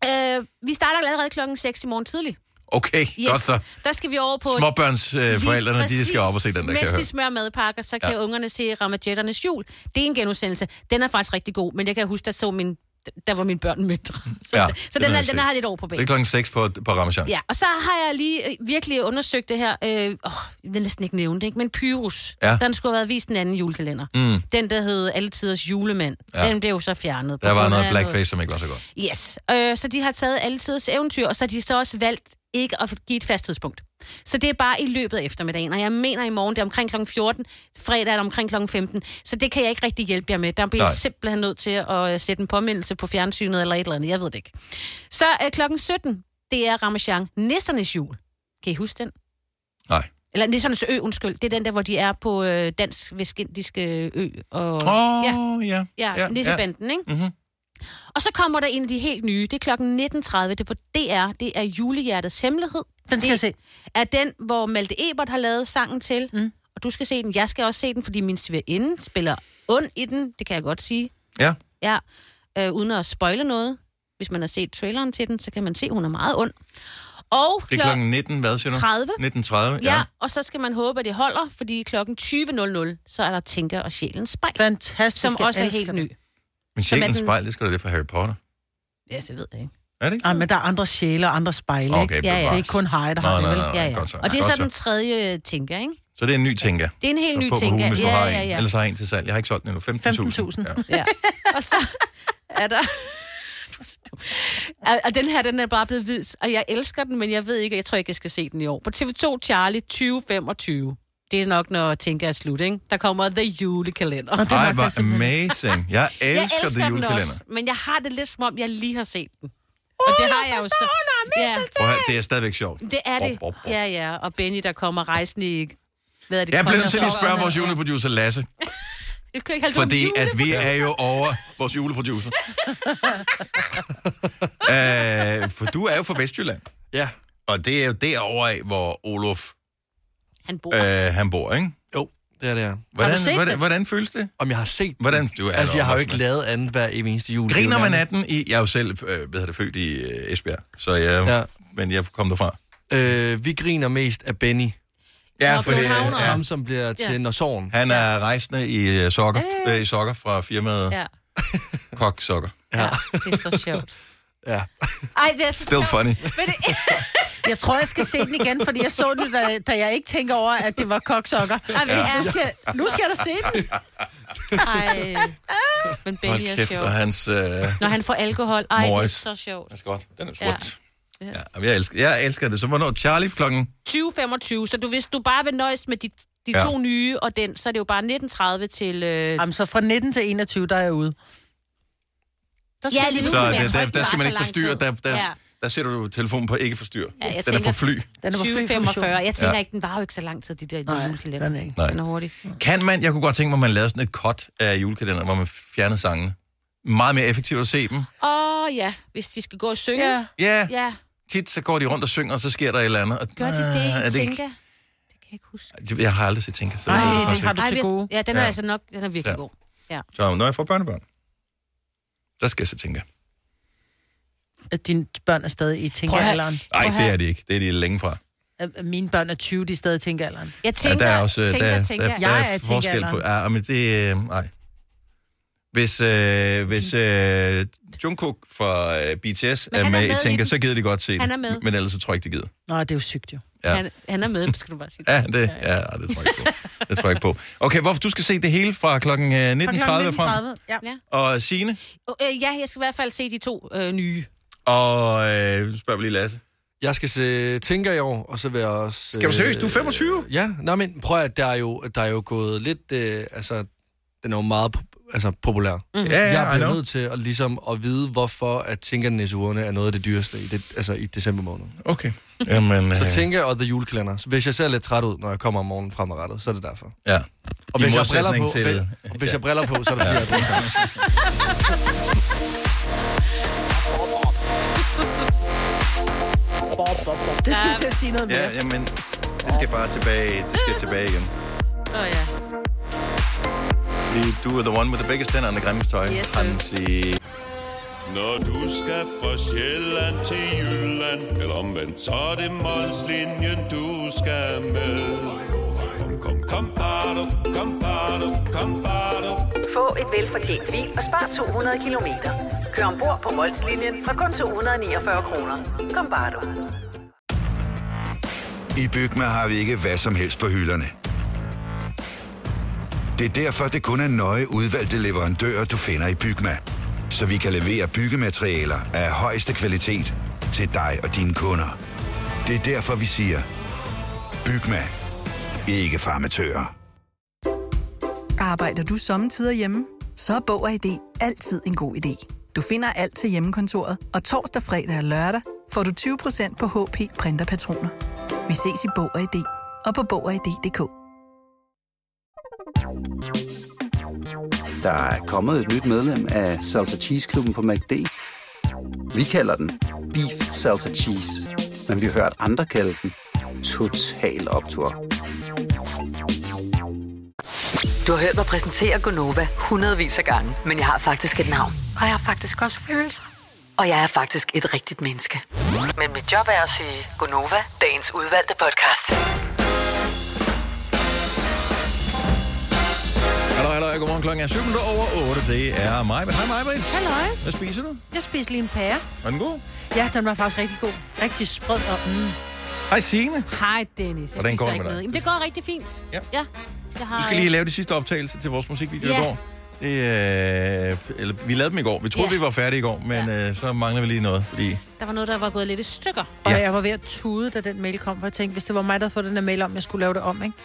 C: øh, vi starter allerede klokken 6 i morgen tidlig.
A: Okay, yes. godt så.
C: Der skal vi over på...
A: Småbørnsforældrene, øh,
C: Lige
A: forældrene, de
C: præcis.
A: skal op og se den der, kan jeg
C: Mens
A: høre.
C: de smører madpakker, så kan ja.
A: Ja.
C: ungerne se Ramajetternes jul. Det er en genudsendelse. Den er faktisk rigtig god, men jeg kan huske, der så min der var mine børn mindre. Så,
A: Ja,
C: ja, så
A: det
C: den,
A: vil
C: er,
A: jeg
C: den
A: se.
C: har lidt over på
A: Det er
C: banen.
A: klokken 6 på, på Ramachan.
C: Ja, og så har jeg lige øh, virkelig undersøgt det her. Øh, åh, jeg vil næsten ikke nævne det, ikke? men Pyrus.
A: Ja.
C: Den skulle have været vist den anden julekalender.
A: Mm.
C: Den, der hed Altiders julemand. Ja.
A: Ja.
C: Den blev jo så fjernet. på
A: Der var
C: grund
A: noget
C: af
A: blackface, som ikke var så godt.
C: Yes, øh, så de har taget alle tiders eventyr, og så har de så også valgt ikke at give et fast tidspunkt. Så det er bare i løbet af eftermiddagen, og jeg mener i morgen, det er omkring kl. 14, fredag er det omkring kl. 15, så det kan jeg ikke rigtig hjælpe jer med. Der bliver jeg
M: Nej.
C: simpelthen nødt til at øh, sætte en påmindelse på fjernsynet eller et eller andet, jeg ved det ikke. Så øh, kl. 17, det er Ramachan Nissernes jul. Kan I huske den?
A: Nej.
C: Eller Nissernes ø, undskyld. Det er den der, hvor de er på øh, dansk vestindiske ø. Og...
A: Åh, ja.
C: Ja, ja Nissebanden, ikke?
A: Mm-hmm.
C: Og så kommer der en af de helt nye. Det er klokken 19.30. Det er på DR. Det er Julehjertets Hemmelighed. Den skal det jeg se. er den, hvor Malte Ebert har lavet sangen til. Mm. Og du skal se den. Jeg skal også se den, fordi min svigerinde spiller ond i den. Det kan jeg godt sige.
A: Ja.
C: Ja. Øh, uden at spoile noget. Hvis man har set traileren til den, så kan man se, at hun er meget ond. Og
A: Det er
C: klo-
A: klokken 19, hvad siger du?
C: 30.
A: 19.30,
C: Ja.
A: ja.
C: ja, og så skal man håbe, at det holder, fordi klokken 20.00, så er der Tænker og Sjælens Spejl.
B: Fantastisk,
C: Som
B: jeg
C: også er
B: elsker
C: helt
B: den.
C: ny.
A: Men
C: Som er
A: Sjælens
C: den-
A: spejl, det skal du det fra Harry Potter.
C: Ja, det ved jeg ikke.
A: Er det ikke?
B: Ej, men der er andre sjæle og andre spejle,
A: Okay,
B: ikke?
A: bevares.
B: Det er ikke kun Hej, der har
A: Nej,
B: det,
A: nej,
B: vel?
A: nej, nej,
B: ja, ja.
A: godt så.
C: Og det er
A: Godt
C: så den tredje Tænker, ikke?
A: Så det er en ny tænker.
C: Det er en helt
A: Så
C: ny
A: på på
C: tænker.
A: Hugen, hvis du
C: Ja,
A: har
C: ja,
A: en.
C: ja.
A: Ellers har jeg en til salg. Jeg har ikke solgt den endnu. 15.000.
B: 15.000.
C: Ja. Og så er der... Og- Og den her, den er bare blevet vis, og jeg elsker den, men jeg ved ikke, jeg tror ikke, jeg skal se den i år. På TV2 Charlie 2025. Det er nok, når tænker er slut, ikke? Der kommer The Julekalender.
A: Ja. Ej, hvor amazing. Jeg elsker, jeg elsker det julekalender.
C: men jeg har det lidt som om, jeg lige har set den. Og det har jeg jo så. Ja,
A: Prøv at høre, det er stadigvæk sjovt.
C: det er det.
A: Bop, bop, bop.
C: Ja, ja. Og Benny, der kommer rejsende i... Hvad er det?
A: Jeg er blevet
C: Kongen
A: nødt til lige at
C: og
A: spørge
C: Sokkerne.
A: vores juleproducer Lasse,
C: Jeg skal ikke holde ud om
A: fordi at vi
C: julekalender.
A: er jo over vores juleproducer. Æh, Øh, for du er jo fra Vestjylland.
D: Ja.
A: Og det er jo derovre af, hvor Olof
C: Han bor.
A: øh, han bor, ikke?
D: Jo, det er det, ja.
A: Hvordan, hvordan, hvordan føles det?
D: Om jeg har set den?
A: Hvordan? Du er
D: altså, jeg har jo
A: opvokset
D: ikke
A: med-
D: lavet andet hver evig eneste jul.
A: Griner man af
D: nærmest-
A: den i... Jeg er jo selv, øh, hvad hedder det, født i øh, Esbjerg, så jeg, ja. men jeg kom derfra.
D: Øh, vi griner mest af Benny.
A: Ja, Nå, fordi-
D: ja.
A: Københavneren.
D: ham, som bliver til
A: Ja.
D: ja. når sorgen.
A: Han er rejsende i øh, sokker, øh. i sokker fra firmaet
C: Ja.
A: Kok Sokker.
C: Ja, det er så sjovt.
D: Ja.
B: Ej, det er så
A: Still funny.
B: Jeg tror, jeg skal se den igen, fordi jeg så den, da, da jeg ikke tænker over, at det var koksokker. Ej, men
A: Ja.
B: ja. nu, skal, nu skal jeg da se den.
C: Ej. Men Benny
A: Hold
C: er
A: kæft,
C: sjov.
A: og hans... Øh,
C: Når han får alkohol. Ej, det er
A: Morris.
C: så sjovt.
A: Det er godt. Den er
C: Ja.
A: smukt. Ja. Jamen, Jeg, elsker, jeg elsker det. Så hvornår? Charlie klokken...
C: 2025, så du, hvis du bare vil nøjes med de, de
A: Ja.
C: ja. to nye og den, så er det jo bare 1930 til... Øh...
B: Jamen, så fra 19 til 21, der er jeg ude.
C: Der
B: skal
C: lige
B: lige-
A: Så
B: skal
A: der,
B: være-
A: der,
B: jeg tror
A: der
B: ikke,
A: skal
B: den
A: man
B: var
A: ikke
B: så
A: forstyrre.
B: lang
A: Der, der,
C: Ja.
A: der sætter du telefonen på ikke forstyrre.
C: Ja, jeg
A: den er
C: tænker-
A: på fly.
B: Den er på fly.
C: 2045. Jeg tænker
A: Ja.
C: ja. ikke, den var jo ikke så lang tid, de der Nej, julekalender. Den er ikke.
A: Nej.
C: Den er hurtig.
A: Kan man, jeg kunne godt tænke mig, at man lavede sådan et cut af julekalenderen, hvor man fjernede sangene. Meget mere effektivt at se dem.
C: Åh oh, ja, hvis de skal gå og synge. Ja.
A: Ja.
C: ja.
A: Tit så går de rundt og synger, og så sker der et eller andet. Og,
C: Gør de det,
A: Ah,
C: jeg
A: er
C: tænker? Det
A: ikke-
C: kan jeg ikke huske.
A: Jeg har aldrig set Tinka. så
C: Ej,
A: jeg ved det
C: den
A: faktisk
C: har
A: ikke.
C: du til gode. Ja, den er
A: Ja.
C: altså nok, den er virkelig
A: Ja.
C: god. Ja.
A: Så når jeg får børnebørn, der skal jeg se Tinka.
B: At dine børn er stadig i tænkealderen.
A: Nej, det er de ikke. Det er de længe fra.
B: det. Mine børn er 20, de er stadig i tænkealderen.
C: Jeg
A: ja, der er også øh, der, der, der, der
B: Jeg er
A: er
B: i
A: forskel på.
B: tænkealderen.
A: Ja, men det... Øh, nej. Hvis, øh, hvis øh, Jungkook fra øh, BTS
C: Men
A: er
C: han
A: med,
C: er
A: i
C: med i
A: Tinka,
C: den.
A: så gider de godt se
C: Han
A: det.
C: er med.
A: Men ellers så tror jeg ikke, de gider.
B: Nå, det er jo sygt jo.
A: Ja.
C: Han, han er med, skal du bare sige.
A: Ja, det, ja, ja det tror jeg ikke på. Det tror jeg ikke på. Okay, hvorfor du skal se det hele fra klokken øh, 19.30 frem.
C: Ja. ja.
A: Og Signe,
C: Øh, ja, jeg skal i hvert fald se de to øh, nye.
A: og øh, nu spørger vi lige Lasse.
D: Jeg skal se Tinker i år, og så vil jeg også... øh,
A: Skal du seriøst? Du er 25?
D: Ja, nej, men prøv at der er jo, der er jo gået lidt... Øh, altså, den er jo meget po- altså, populær.
A: Mhm. Ja, ja,
D: jeg bliver
A: I know.
D: nødt til at, ligesom, at vide, hvorfor at Tinker Nisseurene er noget af det dyreste i, det, altså, i december måned.
A: Okay. Jamen, øh,
D: Så Tinker og The Julekalender. Så Hvis jeg ser lidt træt ud, når jeg kommer om morgenen fremadrettet, så er det derfor.
A: Ja.
D: Og
A: I
D: hvis, jeg har briller
A: modsætning
D: på,
A: til-
D: til... og hvis jeg har briller på, så er det fordi, jeg er briller.
B: Det skal til at sige noget mere.
A: Ja, jamen, det skal bare tilbage, det skal tilbage igen.
C: Åh oh, ja.
A: Fordi du er the one with the biggest stand on the grimmest tøj. Yes, Hansi.
G: Når du skal fra Sjælland til Jylland Eller omvendt, så er det Molslinjen, du skal med Kom, kom, kom, bado, kom, bado, kom, bado.
M: Få et velfortjent bil og spar 200 kilometer. Kør ombord på Molslinjen fra kun 249 kroner. Kom bare du.
H: I Bygma har vi ikke hvad som helst på hylderne. Det er derfor, det kun er nøje udvalgte leverandører, du finder i Bygma. Så vi kan levere byggematerialer af højeste kvalitet til dig og dine kunder. Det er derfor, vi siger, Bygma. Ikke farmatører.
I: Arbejder du sommetider hjemme? Så er Bog og ID altid en god idé. Du finder alt til hjemmekontoret, og torsdag, fredag og lørdag får du 20% på HP printerpatroner. Vi ses i Bog og ID og på Bog og ID.dk.
K: Der er kommet et nyt medlem af Salsa Cheese Klubben på MACD. Vi kalder den Beef Salsa Cheese, men vi har hørt andre kalde den Total Optor.
E: Du har hørt mig præsentere Gonova hundredvis af gange, men jeg har faktisk et navn.
M: Og jeg har faktisk også følelser.
E: Og jeg er faktisk et rigtigt menneske. Men mit job er at sige Gonova, dagens udvalgte podcast.
A: Hallo, hallo, godmorgen. Klokken er 7 minutter over 8. Det er mig. Hej, mig,
B: Halløj.
A: Hvad spiser du?
B: Jeg spiser lige en pære.
A: Er den god?
B: Ja, den var faktisk rigtig god. Rigtig sprød og... Mm.
A: Hej, Signe.
C: Hej, Dennis. Jeg
A: Hvordan går
C: spiser ikke
A: det med dig?
C: noget. Jamen, det går rigtig fint.
A: Ja.
C: ja. Jeg har,
A: Du skal lige lave de sidste optagelser til vores musikvideo
C: Ja.
A: i går. Det, øh, eller, vi lavede dem i går. Vi troede,
C: Ja.
A: vi var færdige i går, men øh, så mangler vi lige noget. Fordi,
C: Der var noget, der var gået lidt i stykker.
B: Og jeg var ved at tude, da den mail kom, for jeg tænkte, hvis det var mig, der havde fået den her mail om, jeg skulle lave det om, ikke?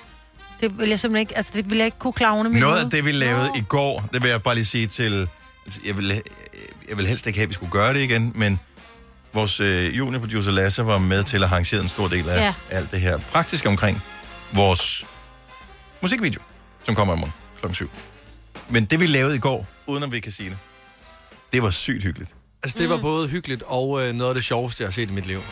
B: Det ville jeg simpelthen ikke, altså det ville jeg ikke kunne klare under min
A: noget af
B: hoved.
A: det, vi lavede i går, det vil jeg bare lige sige til... Altså, jeg, vil, jeg vil helst ikke have, at vi skulle gøre det igen, men vores øh, juniorproducer Lasse var med til at arrangere en stor del af
O: Ja.
A: ja. alt det her praktiske omkring vores musikvideo, som kommer i morgen kl. 7. Men det, vi lavede i går, uden om vi kan sige det, det var sygt hyggeligt.
D: Altså, det var både hyggeligt og øh, noget af det sjoveste, jeg har set i mit liv.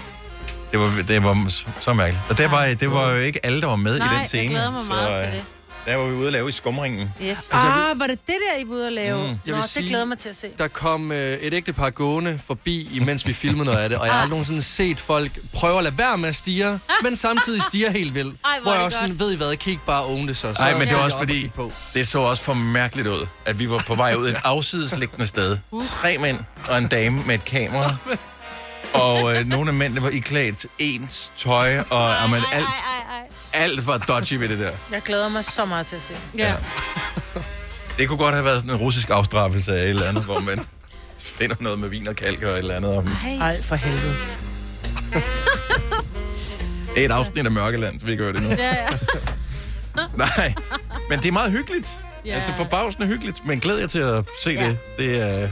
A: Det var, det var så mærkeligt. Og det var, det var jo ikke alle, der var med
D: Nej,
A: i den
D: jeg
A: scene.
D: glæder mig
A: så,
D: meget til
A: øh,
D: det.
A: Der var vi ude at lave i skumringen.
B: Yes. Ah, var det det der, I var ude at lave? Mm. Nå,
D: vil
B: det
D: sige-
B: glæder jeg mig til at se.
D: Der kom øh, et ægtepar gående forbi, imens vi filmede noget af det, og jeg har aldrig nogensinde set folk prøve at lade være med at stige, men samtidig stiger helt vildt.
C: Ah.
A: Ej, hvor
D: hvor
A: er
D: jeg
A: det
D: også
A: godt.
D: sådan, ved I hvad, kig bare oven det så. Så
A: Nej, men det
D: skal jeg
A: var også
D: op og
A: fordi,
D: kigge på.
A: det så også for mærkeligt ud, at vi var på vej ud et afsidesliggende sted. Tre mænd og en dame med et kamera. Og øh, nogle af mændene var iklædt ens tøj, og ej, man, alt, alt var dodgy ved det der.
B: Jeg glæder mig så meget til at se.
A: Ja. Det kunne godt have været sådan en russisk afstraffelse af et eller andet, hvor man finder noget med vin og kalk og et eller andet. Om.
B: Ej, for helvede.
A: Det er et afsnit af Mørkeland, så vi gør det nu.
B: Ja, ja.
A: Nej, men det er meget hyggeligt.
B: Ja.
A: Ja. Altså forbavsende hyggeligt, men glæder jeg til at se ja. det. Det er...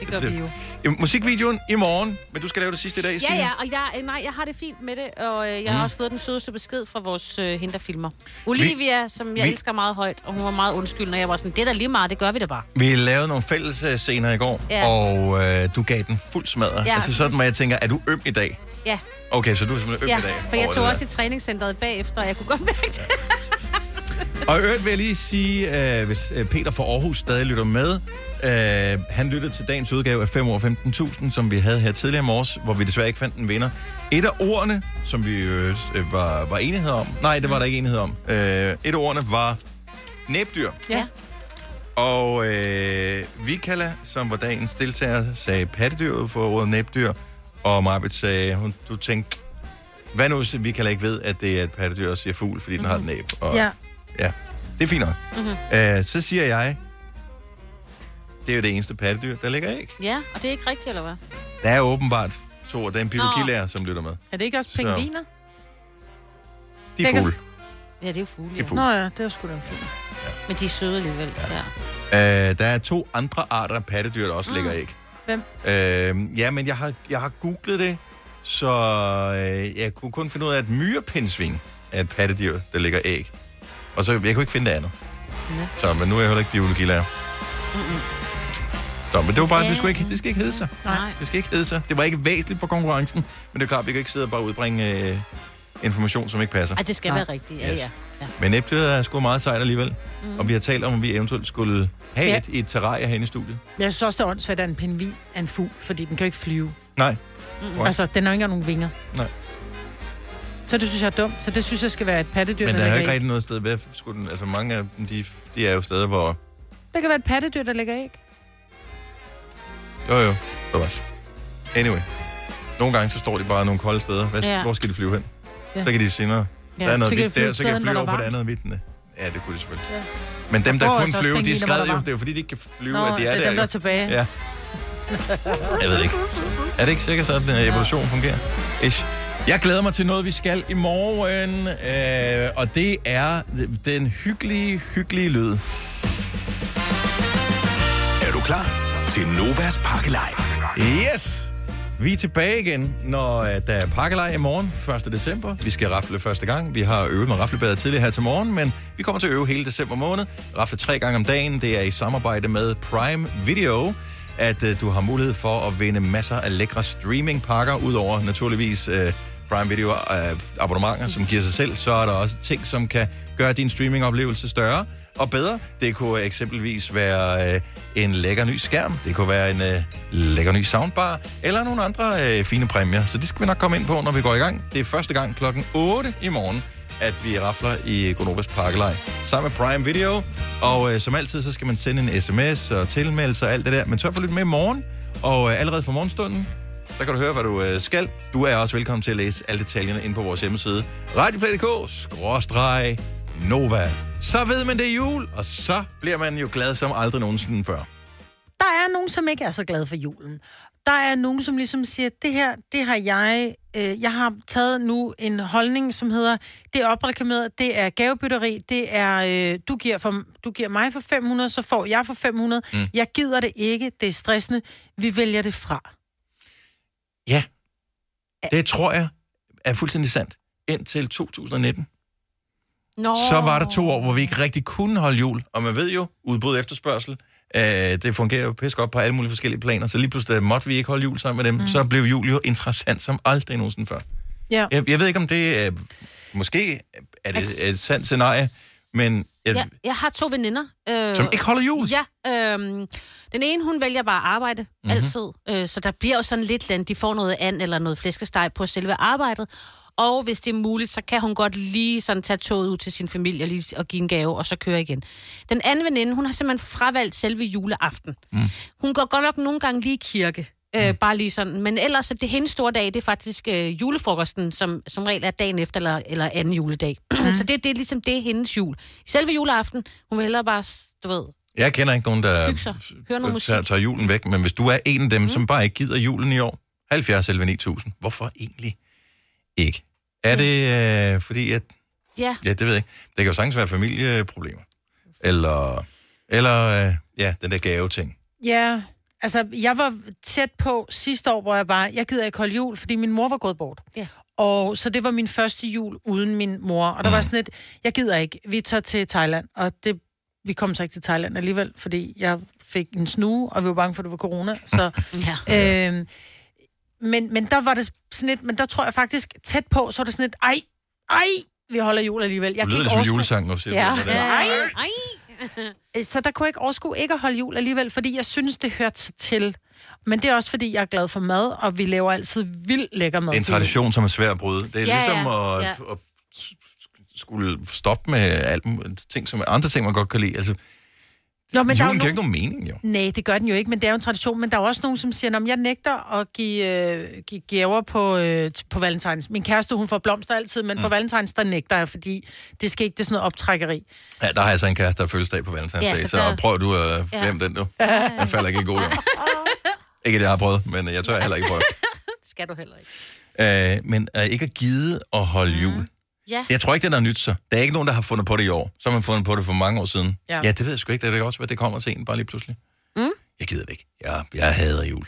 C: Det gør vi jo.
A: Jamen, Musikvideoen i morgen, men du skal lave det sidste i dag,
C: Ja,
A: Signe.
C: ja, og jeg, øh, nej, jeg har det fint med det, og øh, jeg har
A: Mm.
C: også fået den sødeste besked fra vores øh, hende, der filmer. Olivia, vi, som jeg
A: vi-
C: vi, elsker meget højt, og hun var meget undskyldende, og jeg var sådan, det er da lige meget, det gør vi da bare.
A: Vi lavede nogle fælles øh, scener i går,
C: Ja.
A: og øh, du gav den fuld smadre.
C: Ja.
A: Ja. Altså sådan, hvor jeg tænker, er du øm i dag?
C: Ja,
A: Okay, så du er simpelthen øm
C: ja
A: i dag.
C: for jeg
A: over
C: tog
A: det
C: også i træningscenteret bagefter, og jeg kunne godt mærke det.
A: Og i øvrigt vil jeg lige sige, øh, hvis øh, Peter fra Aarhus stadig lytter med, øh, han lyttede til dagens udgave af 5 år 15.000, som vi havde her tidligere i morges, hvor vi desværre ikke fandt en vinder. Et af ordene, som vi øh, var, var enighed om, nej, det var der ikke enighed om, øh, et af ordene var næbdyr.
C: Ja.
A: Og øh, Vikala, som var dagens deltager, sagde pattedyr ud for ordet næbdyr, og Marbet sagde, hun, du tænkte, hvad nu, hvis Vikala ikke ved, at det er et pattedyr, og siger fugl, fordi mm-hmm. den har et næb. Og,
B: Mhm. Ja. Mhm.
A: ja. Det er fint nok.
C: Mm-hmm.
A: Øh, så siger jeg, det er jo det eneste pattedyr, der ligger æg.
C: Ja, og det er ikke rigtigt, eller hvad?
A: Der er åbenbart to, og der er en biologilærer, som lytter med.
B: Er det ikke også
A: Så.
B: pingviner?
A: De er
B: kan-
A: fugle.
C: Ja, det er jo fugle,
A: Det er
C: ja.
A: fugle.
B: Nå ja, det er jo sgu da en fugl.
C: Men de er søde alligevel, ja.
A: Øh, der er to andre arter af pattedyr, der også mm. ligger æg.
B: Hvem?
A: Øh, ja, men jeg har, jeg har googlet det, så øh, jeg kunne kun finde ud af, at myrepindsvin er et pattedyr, der ligger æg. Og så, jeg kunne ikke finde det andet.
C: Ja.
A: Så, men nu er jeg heller ikke biologilærer.
C: Mm-mm.
A: Nå, men det var bare,
C: Ja.
A: det, skulle ikke, det skal ikke hedde sig.
C: Nej.
A: Det skal ikke hedde sig. Det var ikke væsentligt for konkurrencen, men det er klart, vi kan ikke sidde og bare udbringe øh, information, som ikke passer.
C: Ej, det skal være rigtigt, ja,
A: Yes.
C: ja. ja.
A: Men næbdyret er sgu meget sejt alligevel.
B: Mhm.
A: Mm. Og vi har talt om, om vi eventuelt skulle have
B: Ja.
A: ja. et i et terrarie herinde i studiet.
B: Jeg synes også, det er åndssvagt, at en pingvin er en fugl, fordi den kan jo ikke flyve.
A: Nej.
B: Mm. Altså, den har ikke engang nogen vinger.
A: Nej.
B: Så det synes jeg er dumt. Så det synes jeg skal være et pattedyr,
A: Men der er
B: ligger
A: jo ikke
B: æg.
A: rigtig noget sted. Hvad skulle den, altså mange af dem, de, de er jo steder, hvor...
B: Det kan være et pattedyr, der ligger æg.
A: Jo, jo, der var Anyway. Nogle gange, så står de bare nogle kolde steder. Hvad,
B: Ja.
A: ja. Hvor skal de flyve hen?
B: Ja.
A: Ja. Så kan de sige, "Nå,
B: Ja,
A: der er
B: så
A: noget
B: kan de
A: hvidt
B: flyve
A: der, så kan
B: steder, hvor
A: jeg
B: der
A: flyve over
B: er
A: på det
B: varmt."
A: andet hvidt. Ja, det kunne de selvfølgelig. Ja. Men dem, der
B: Hvor er
A: kun
B: så også
A: flyver, de
B: pingviner, hvor
A: skred
B: der
A: jo.
B: var?
A: Det er jo fordi, de ikke kan flyve,
B: Nå,
A: at de er
B: det er
A: der.
B: dem, der
A: jo.
B: er tilbage.
A: Ja. Jeg ved ikke. Er det ikke sikkert sådan, at evolution fungerer? Ish. Jeg glæder mig til noget, vi skal i morgen, øh, og det er den hyggelige, hyggelige lyd.
F: Er du klar til Novas pakkelej?
A: Yes! Vi er tilbage igen, når øh, der er pakkelej i morgen, 1. december. Vi skal rafle første gang. Vi har øvet med raflebadet tidligere her til morgen, men vi kommer til at øve hele december måned. Rafle tre gange om dagen. Det er i samarbejde med Prime Video, at øh, du har mulighed for at vinde masser af lækre streamingpakker, udover naturligvis øh, Prime Video øh, abonnementer, som giver sig selv. Så er der også ting, som kan gøre din streamingoplevelse større og bedre. Det kunne eksempelvis være øh, en lækker ny skærm, det kunne være en øh, lækker ny soundbar, eller nogle andre øh, fine præmier. Så det skal vi nok komme ind på, når vi går i gang. Det er første gang klokken 8 i morgen, at vi rafler i Gonovas Parkelej sammen med Prime Video. Og øh, som altid, så skal man sende en sms og tilmelde sig og alt det der. Men tør for lidt med i morgen, og øh, allerede fra morgenstunden, der kan du høre, hvad du øh, skal. Du er også velkommen til at læse alle detaljerne inde på vores hjemmeside. Radioplay.dk-nova. Så ved man, det er jul, og så bliver man jo glad som aldrig nogensinde før.
B: Der er nogen, som ikke er så glade for julen. Der er nogen, som ligesom siger, det her, det har jeg, øh, jeg har taget nu en holdning, som hedder, det er opreklameret, det er gavebytteri, det er, øh, du, giver for, du giver mig for 500, så får jeg for 500. Mm.
A: Mm.
B: Jeg gider det ikke, det er stressende, vi vælger det fra.
A: Ja, det tror jeg er fuldstændig sandt. Indtil 2019.
C: Nå.
A: Så var der to år, hvor vi ikke rigtig kunne holde jul. Og man ved jo, udbud og efterspørgsel, øh, det fungerer jo pisse godt på alle mulige forskellige planer. Så lige pludselig måtte vi ikke holde jul sammen med dem.
B: Mm.
A: Mm. Så blev jul jo interessant som aldrig nogensinde før.
B: Ja.
A: øh,
C: Altså-
A: Jeg, jeg ved ikke, om det er... Måske er det et sandt scenarie, men Jeg-
C: Jeg, jeg har to veninder. Øh,
A: Som ikke holder jul?
C: Ja. Øh, den ene, hun vælger bare at arbejde
A: Mhm.
C: mm-hmm. altid. Øh, så der bliver jo sådan lidt land. De får noget and eller noget flæskesteg på selve arbejdet. Og hvis det er muligt, så kan hun godt lige sådan tage toget ud til sin familie og lige og give en gave, og så køre igen. Den anden veninde, hun har simpelthen fravalgt selve juleaften. Mm. Hun går godt nok nogle gange lige i kirke. Øh, bare lige sådan. Men ellers er det hendes store dag, det er faktisk øh, julefrokosten, som som regel er dagen efter eller, eller anden juledag. Mm. så det, det er ligesom det er hendes jul. Selve juleaften, hun vil hellere bare, du ved,
A: Jeg kender ikke nogen, der
C: hygge sig, høre noget musik.
A: tager, tager julen væk, men hvis du er en af dem, mm. som bare ikke gider julen i år, 70 11 9000, hvorfor egentlig ikke? Er det øh, fordi, at...
C: Ja.
A: Ja, det ved jeg ikke. Det kan jo sagtens være familieproblemer. Eller, eller øh, ja, den der gave-ting.
B: Ja, altså jeg var tæt på sidste år, hvor jeg bare, jeg gider ikke holde jul, fordi min mor var gået bort.
C: Ja.
B: Og så det var min første jul uden min mor, og der mm. var sådan et, jeg gider ikke, vi tager til Thailand, og det, vi kom så ikke til Thailand alligevel, fordi jeg fik en snue, og vi var bange for, at det var corona, så...
C: Ja.
B: Øhm, men, men der var det sådan lidt, men der tror jeg faktisk tæt på, så var det sådan lidt, ej, ej, vi holder jul alligevel. Jeg
A: Du
B: kan
A: lyder
B: ikke
A: lidt som
B: overskue-
A: en julesang, når du siger
B: ja.
A: det.
B: Ja.
A: Ej,
C: ej.
B: Øh, Så der kunne jeg ikke overskue ikke at holde jul alligevel, fordi jeg synes, det hørte sig til. Men det er også, fordi jeg er glad for mad, og vi laver altid vildt lækker mad.
A: Det er en
B: til jul.
A: tradition, som er svær at bryde. Det er
B: Ja,
A: ja, ligesom
B: ja,
A: at,
B: ja.
A: at skulle stoppe med alt, muligt- ting, som andre ting, man godt kan lide. Altså,
B: Nå, men
A: men
B: der er jo
A: julen giver
B: nogen-
A: ikke nogen mening, jo.
B: Nej, det gør den jo ikke, men det er jo en tradition. Men der er jo også nogen, som siger, at jeg nægter at give, øh, give gaver på, øh, t- på valentines. Min kæreste, hun får blomster altid, men mm. på valentines, der nægter jeg, fordi det skal ikke, det er sådan noget optrækkeri.
A: Ja, der har jeg så en kæreste, der har fødselsdag på valentinsdag,
B: Ja,
A: ja,
B: så
A: så, så
B: der-
A: prøv du at
B: Ja.
A: glemme den, du.
B: Ja.
A: Den falder ikke i god jord. Ikke, at jeg har prøvet, men jeg tør heller ikke prøve.
C: Det skal du heller ikke.
A: Øh, men øh, ikke at gide at holde jul.
C: Mm. Ja.
A: Jeg tror ikke, det er noget nyt så. Der er ikke nogen, der har fundet på det i år. Så har man fundet på det for mange år siden.
C: Ja.
A: Ja, ja det ved jeg sgu ikke. Det er da også, hvad det kommer til en bare lige pludselig.
C: Mm?
A: Jeg gider det ikke. Jeg, jeg hader jul.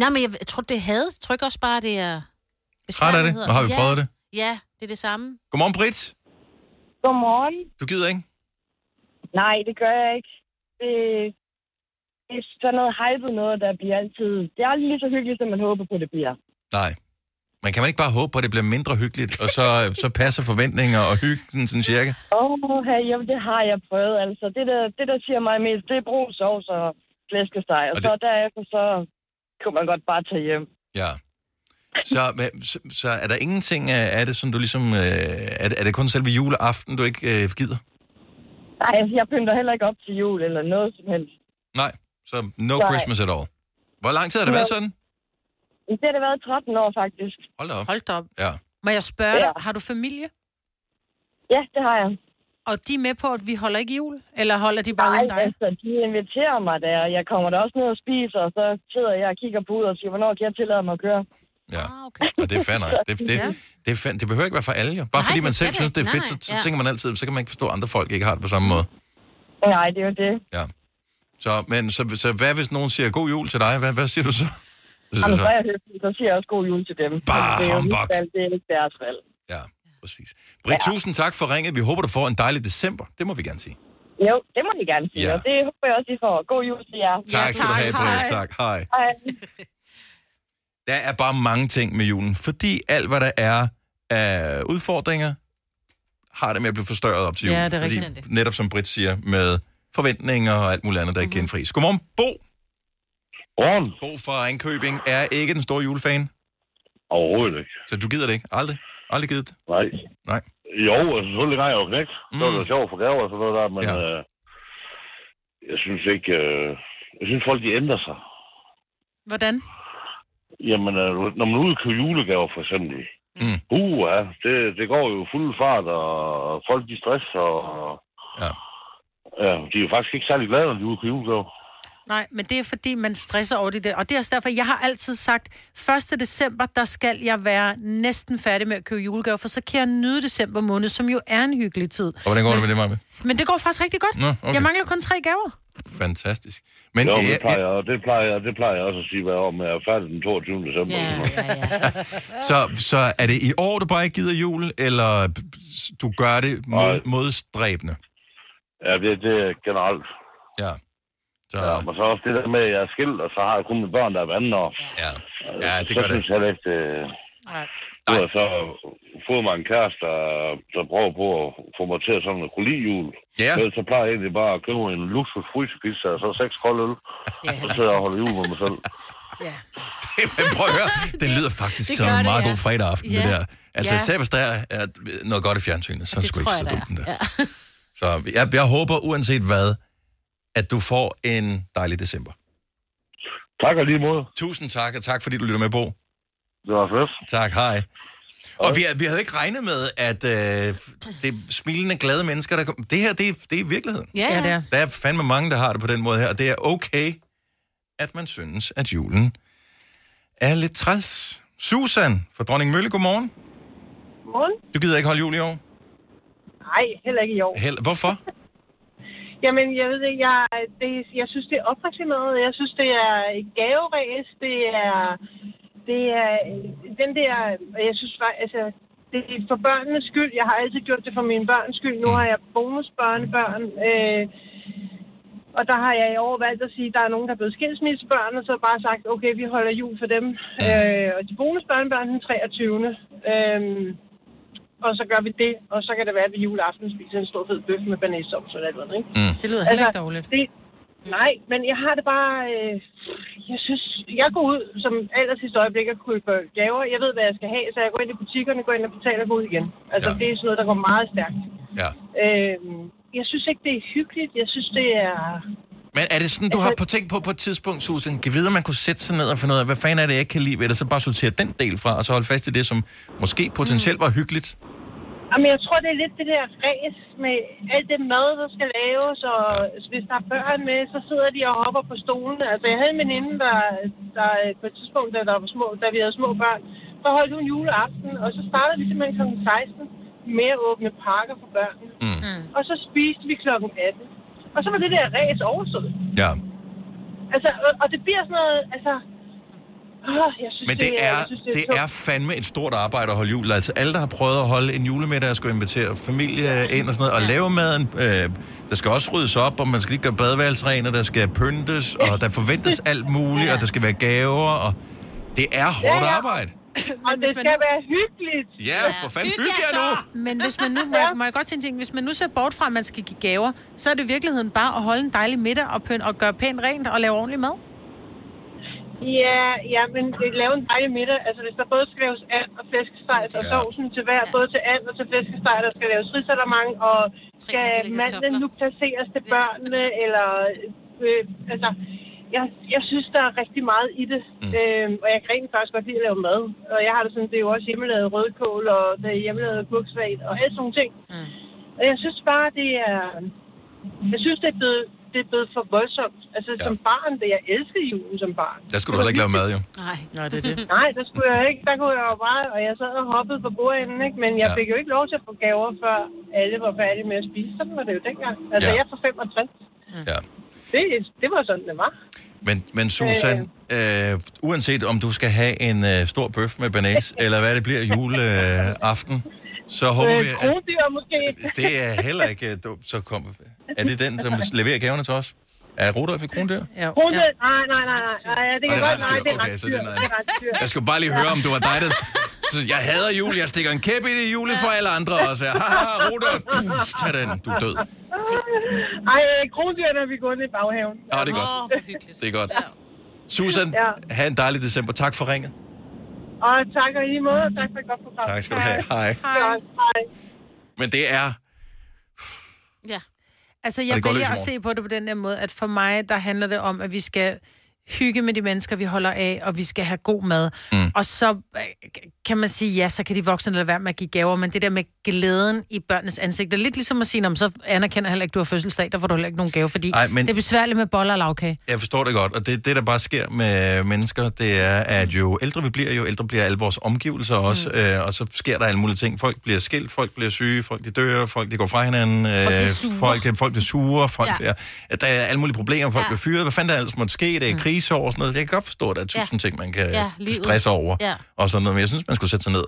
C: Nej, men jeg tror, det havde. Jeg tror ikke også bare, det er...
A: Træt af det?
C: besværligheder.
A: Nå, har vi
C: ja.
A: prøvet det?
C: Ja, det er det samme.
A: Godmorgen, Britt.
O: Godmorgen.
A: Du gider ikke?
O: Nej, det gør jeg ikke. Det, det er sådan noget hypet noget, der bliver altid... Det er aldrig lige så hyggeligt, som man håber på, det bliver.
A: Nej. Men kan man ikke bare håbe på, at det bliver mindre hyggeligt, og så, så passer forventninger og hyggen sådan cirka?
O: Åh, hey, jamen, det har jeg prøvet, altså. Det der, det, der siger mig mest, det er brug sovs og flæskesteg. Og, og så derefter, så kunne man godt bare tage hjem.
A: Ja. Så, men- så, så er der ingenting af af det, som du ligesom... Øh, er, det, er det kun selve juleaften, du ikke øh, gider?
O: Nej, jeg pynter heller ikke op til jul eller noget som helst.
A: Nej, så no
O: Nej.
A: Christmas at all. Hvor lang tid har det været
O: No.
A: sådan?
O: Men Det har det været 13 år, faktisk.
A: Hold da op.
B: Hold da op.
A: Ja.
B: Må jeg spørge dig, har du familie?
O: Ja, det har jeg.
B: Og de er med på, at vi holder ikke jul? Eller holder de bare
O: Nej,
B: uden dig?
O: altså, de inviterer mig der, og jeg kommer der også ned og spiser, og så sidder jeg og kigger på ud og siger, hvornår kan jeg tillade mig at køre?
A: Ja. Ah, okay. Og det er fair nok. Det, det,
O: Ja.
A: det, det, er fair. det behøver ikke være for alle, jo. Bare
O: Nej,
A: Nej, fordi man
O: det skal
A: selv
O: det
A: synes, det er
O: ikke.
A: fedt,
O: Nej,
A: så, så
O: ja.
A: tænker man altid, så kan man ikke forstå, at andre folk ikke har det på samme måde.
O: Nej, det er jo det.
A: Så, men, så, så hvad hvis nogen siger god jul til dig? Hvad, hvad siger du så? Hvad siger
O: Jamen,
A: du
O: så er
A: så?
O: jeg høflig, så siger jeg også god jul til dem.
A: Altså-
O: Altså,
A: Bare
O: det er jo mit
A: humbug.
O: valg, det er ikke deres valg.
A: Præcis. Britt, tusind tak for ringet. Vi håber, du får en dejlig december. Det må vi gerne sige.
O: Jo, det må de gerne sige,
A: Ja.
O: ja. og det håber jeg også, I får. God jul til jer.
A: Tak skal du have, Britt. Tak. Hej.
O: Hej.
A: Der er bare mange ting med julen, fordi alt, hvad der er af udfordringer, har det med at blive forstørret op til
B: Ja,
A: julen.
B: det er
A: fordi,
B: rigtigt.
A: Netop som Britt siger, med forventninger og alt muligt andet, der ikke
B: Mhm.
A: kan indfries. Godmorgen, Bo.
P: Godmorgen.
A: Bo fra Ringkøbing er ikke den store julefan.
P: Overhovedet ikke.
A: Så du gider det ikke? Aldrig? Aldrig givet det?
P: Nej.
A: Nej.
P: Jo, altså selvfølgelig har jeg jo knægt. Mm. Det var da sjovt for gaver og sådan noget der, men ja. øh, jeg synes ikke... Øh, jeg synes, folk de ændrer sig.
B: Hvordan?
P: Jamen, øh, når man er ude og købe julegaver for eksempel,
A: mm.
P: uh, ja, det, det går jo fuld fart, og folk de stresser, og...
A: Ja.
P: Ja, de er jo faktisk ikke særlig glade, når de er ude og købe julegaver.
B: Nej, men det er fordi, man stresser over det der. Og det er også derfor, jeg har altid sagt, 1. december, der skal jeg være næsten færdig med at købe julegaver, for så kan jeg nyde december måned, som jo er en hyggelig tid.
A: Og hvordan går det med det, Marve?
B: Men det går faktisk rigtig godt.
A: Nå, okay.
B: Jeg mangler kun tre gaver.
A: Fantastisk. Men
P: jo,
A: det
P: det,
A: er-
P: plejer, jeg- det, plejer, jeg- det plejer jeg også at sige hver år, men jeg er færdig den 22. december.
B: Ja,
A: Så, så er det i år, du bare ikke gider jul, eller du gør det mod, modstræbende?
P: Ja, det, det er generelt.
A: Ja. Så...
P: ja. Men så også det der med, at jeg er skilt, og så har jeg kun mine børn, der er vandet. Og...
A: Ja. ja, det gør
P: så
A: det.
P: Synes jeg, lidt, øh...
B: Nej.
P: Det var så fået mig en kæreste, der, der prøver på at få mig til at sådan at kunne lide jul. Ja. Ellers så plejer jeg egentlig bare at købe en luksus frysepizza og så seks kolde øl. Så sidder jeg og holder jul med mig selv.
A: Men prøv at høre, den lyder faktisk
P: Det
A: som
P: gør
A: en
P: det,
A: meget
P: ja.
A: god fredag aften, ja. det
P: Ja.
A: der. Altså, ja.
P: Ja.
A: selv hvis der er er noget godt i fjernsynet, så er det, sgu ikke så dumt.
C: der. Ja.
A: Så jeg, jeg håber uanset hvad, at du får en dejlig december.
P: Tak og lige måde.
A: Tusind tak, og tak fordi du lytter med, Bo.
P: Det var fedt.
A: Tak, hej. Og vi, vi havde ikke regnet med, at øh, det er smilende, glade mennesker, der kom. Det her, det er, det er virkeligheden.
B: Ja, ja. Ja, det er.
A: Der er fandme mange, der har det på den måde her, og det er okay, at man synes, at julen er lidt træls. Susan fra Dronning Mølle, godmorgen.
Q: Morgen.
A: Du gider ikke holde jul i år?
Q: Nej, heller ikke i år.
A: Hel- Hvorfor?
Q: Jamen, jeg ved ikke, jeg, det, jeg synes, det er opfascineret. Jeg synes, det er et gaveræs. Det er, det er den der, jeg synes faktisk, altså, det er for børnenes skyld. Jeg har altid gjort det for mine børns skyld. Nu har jeg bonusbørnebørn. Øh, og der har jeg i år valgt at sige, at der er nogen, der er blevet skilsmissebørn, og så bare sagt, okay, vi holder jul for dem. Øh, og de bonusbørnebørn den 23. Øh, og så gør vi det, og så kan det være, at vi juleaften spiser en stor fed bøf med banæssovs eller noget, ikke?
A: Mm.
B: Det lyder heller ikke dårligt.
Q: Det, nej, men jeg har det bare... Øh, jeg synes, jeg går ud som allers sidste øjeblik at købe gaver. Jeg ved, hvad jeg skal have, så jeg går ind i butikkerne, går ind og betaler og går ud igen. Altså, ja. det er sådan noget, der går meget stærkt.
A: Ja.
Q: Øh, jeg synes ikke, det er hyggeligt. Jeg synes, det er...
A: Men er det sådan, du har på tænkt på på et tidspunkt, Susan, kan vide, om man kunne sætte sig ned og finde ud af, hvad fanden er det, jeg ikke kan lide ved det, så bare sortere den del fra, og så holde fast i det, som måske potentielt var hyggeligt?
Q: Jamen, jeg tror, det er lidt det der ræs med alt det mad, der skal laves, og hvis der er børn med, så sidder de og hopper på stolen. Altså, jeg havde en veninde, der, der øh, på et tidspunkt, da, der var små, da vi havde små børn, så holdt hun juleaften, og så startede vi simpelthen kl. 16 med at åbne pakker for børnene.
A: Mm.
Q: Og så spiste vi kl. 18. Og så var det der ræs overstået.
A: Ja.
Q: Altså, og, og det bliver sådan noget, altså... Åh, jeg synes,
A: Men det
Q: det
A: er,
Q: jeg synes,
A: det
Q: tungt.
A: er fandme et stort arbejde at holde jul. Altså alle, der har prøvet at holde en julemiddag, og skulle invitere familie ind og sådan noget, og lave maden. Øh, der skal også ryddes op, og man skal lige gøre badeværelser rent, og der skal pyntes, og der forventes alt muligt, og der skal være gaver, og det er hårdt
Q: Ja, ja.
A: arbejde.
Q: Og det skal være hyggeligt.
A: Ja, for fanden, hyg jer nu!
B: Men hvis man nu, må, jeg, må jeg godt tænke, en ting? hvis man nu ser bort fra, at man skal give gaver, så er det i virkeligheden bare at holde en dejlig middag og, pøn, og gøre pænt rent og lave ordentlig mad.
Q: Ja, ja, men det lave en dejlig middag. Altså, hvis der både skal laves and og flæskesteg, og sovsen til hver, både til and og til flæskesteg, der skal laves ridsalermang, og skal mandlen nu placeres til børnene, eller... Øh, altså, jeg, jeg synes, der er rigtig meget i det. Mm. Øhm, og jeg kan rent faktisk godt lide at lave mad. Og jeg har det sådan, det er jo også hjemmelavet rødkål, og det er hjemmelavet buksvagt, og alle sådan nogle ting. Mm. Og jeg synes bare, det er... Jeg synes, det er blevet, det er blevet for voldsomt. Altså, ja. som barn, det jeg elskede julen som barn.
A: Der skulle du heller ikke lave mad, jo.
B: Nej. Nej, det er det.
Q: Nej, der skulle jeg ikke. Der kunne jeg jo bare, og jeg sad og hoppede på bordenden, ikke? Men jeg
A: Ja.
Q: ja. fik jo ikke lov til at få gaver, før alle var færdige med at spise. Sådan var det jo dengang. Altså,
A: Ja.
Q: ja. jeg er fra 65.
A: Ja.
Q: Det, det var sådan, det var.
A: Men, men Susan, øh, uanset om du skal have en øh, stor bøf med banæs, eller hvad det bliver juleaften, øh, aften, så håber vi, at
Q: Øh, Krondyr måske.
A: det er heller ikke øh, dumt. Så kom. Er det den, som leverer gaverne til os? Er Rudolf i Krondyr?
B: Ja.
Q: Krondyr? Nej, nej, nej, nej. nej det
A: Og
Q: kan
A: det er
Q: godt, nej, det er
A: rensdyr. Okay,
Q: ret
A: så den er-
Q: Det er ret dyr.
A: Jeg skulle bare lige høre, om du var dig, der... Så jeg hader jul, jeg stikker en kæp i det jule for alle andre også. Haha, Rudolf, puh, tag den, du er død.
Q: Ej, krondyrene har vi gået ned i baghaven.
A: Nå, det er godt.
Q: Åh, for hyggeligt.
A: Det er godt. Susan,
Q: Ja.
A: have en dejlig december. Tak for ringet.
Q: Og tak og i lige måde. Tak for et godt program.
A: Tak skal du have. Hej.
Q: Godt, Hej.
A: Men det er...
B: Ja. Altså,
A: Og
B: jeg
A: det går
B: vælger
A: løs i
B: at se på det på den der måde, at for mig, der handler det om, at vi skal hygge med de mennesker, vi holder af, og vi skal have god mad. Mm. Og så øh, kan man sige, ja, så kan de voksne lade være med at give gaver, men det der med glæden i børnenes ansigt, det er lidt ligesom at sige, "Nå, men så anerkender jeg heller ikke, du har fødselsdag, der får du heller ikke nogen gave, fordi
A: Ej,
B: Ej,
A: men-
B: men... det er besværligt med boller og lavkage.
A: Jeg forstår det godt, og det, det der bare sker med mennesker, det er, at jo ældre vi bliver, jo ældre bliver alle vores omgivelser også, mm. øh, og så sker der alle mulige ting. Folk bliver skilt, folk bliver syge, folk de dør, folk de går fra hinanden, øh,
F: bliver sure.
A: folk, folk bliver sure, folk
F: Ja.
A: ja. bliver, at der er alle mulige problemer, folk ja.
F: Ja.
A: bliver fyret, hvad fanden der ellers måtte ske, det er kriseår og sådan noget. Jeg kan godt forstå, at der er
F: Ja.
A: tusind ja. ting, man kan
F: Ja,
A: ja,
F: livet.
A: stresse over
F: Ja.
A: og sådan noget, men jeg synes, man skulle sætte sig ned,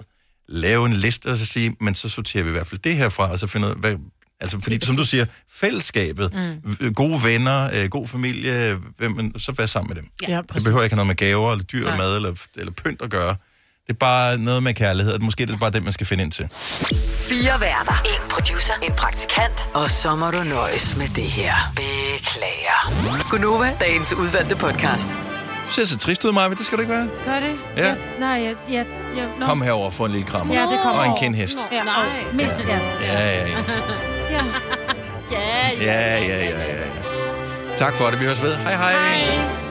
A: lave en liste og så sige, men så sorterer vi i hvert fald det her fra, og så finde ud af, hvad, altså fordi, som du siger, fællesskabet,
B: Mm.
A: øh, gode venner, øh, god familie, øh, hvem, men så vær sammen med dem.
B: Ja,
A: det behøver ikke have noget med gaver, eller dyr, eller mad, eller, eller pynt at gøre. Det er bare noget med kærlighed. at Måske er det er bare det, man skal finde ind til.
E: Fire værter. En producer. En praktikant. Og så må du nøjes med det her. Beklager. Gunova, dagens udvalgte podcast.
A: Du ser så trist ud, Maja. Det skal du ikke være.
B: Gør det?
A: Ja.
B: nej, jeg... Ja, ja, nå.
A: Kom herover og få en lille krammer.
B: Ja, det kommer
A: Og en
B: over.
A: kendhest.
B: Nå, Ja, nej. Mest, ja.
A: Ja, ja, ja.
B: ja.
A: Ja, ja, ja, ja. Tak for det. Vi høres ved. Hej, hej. hej.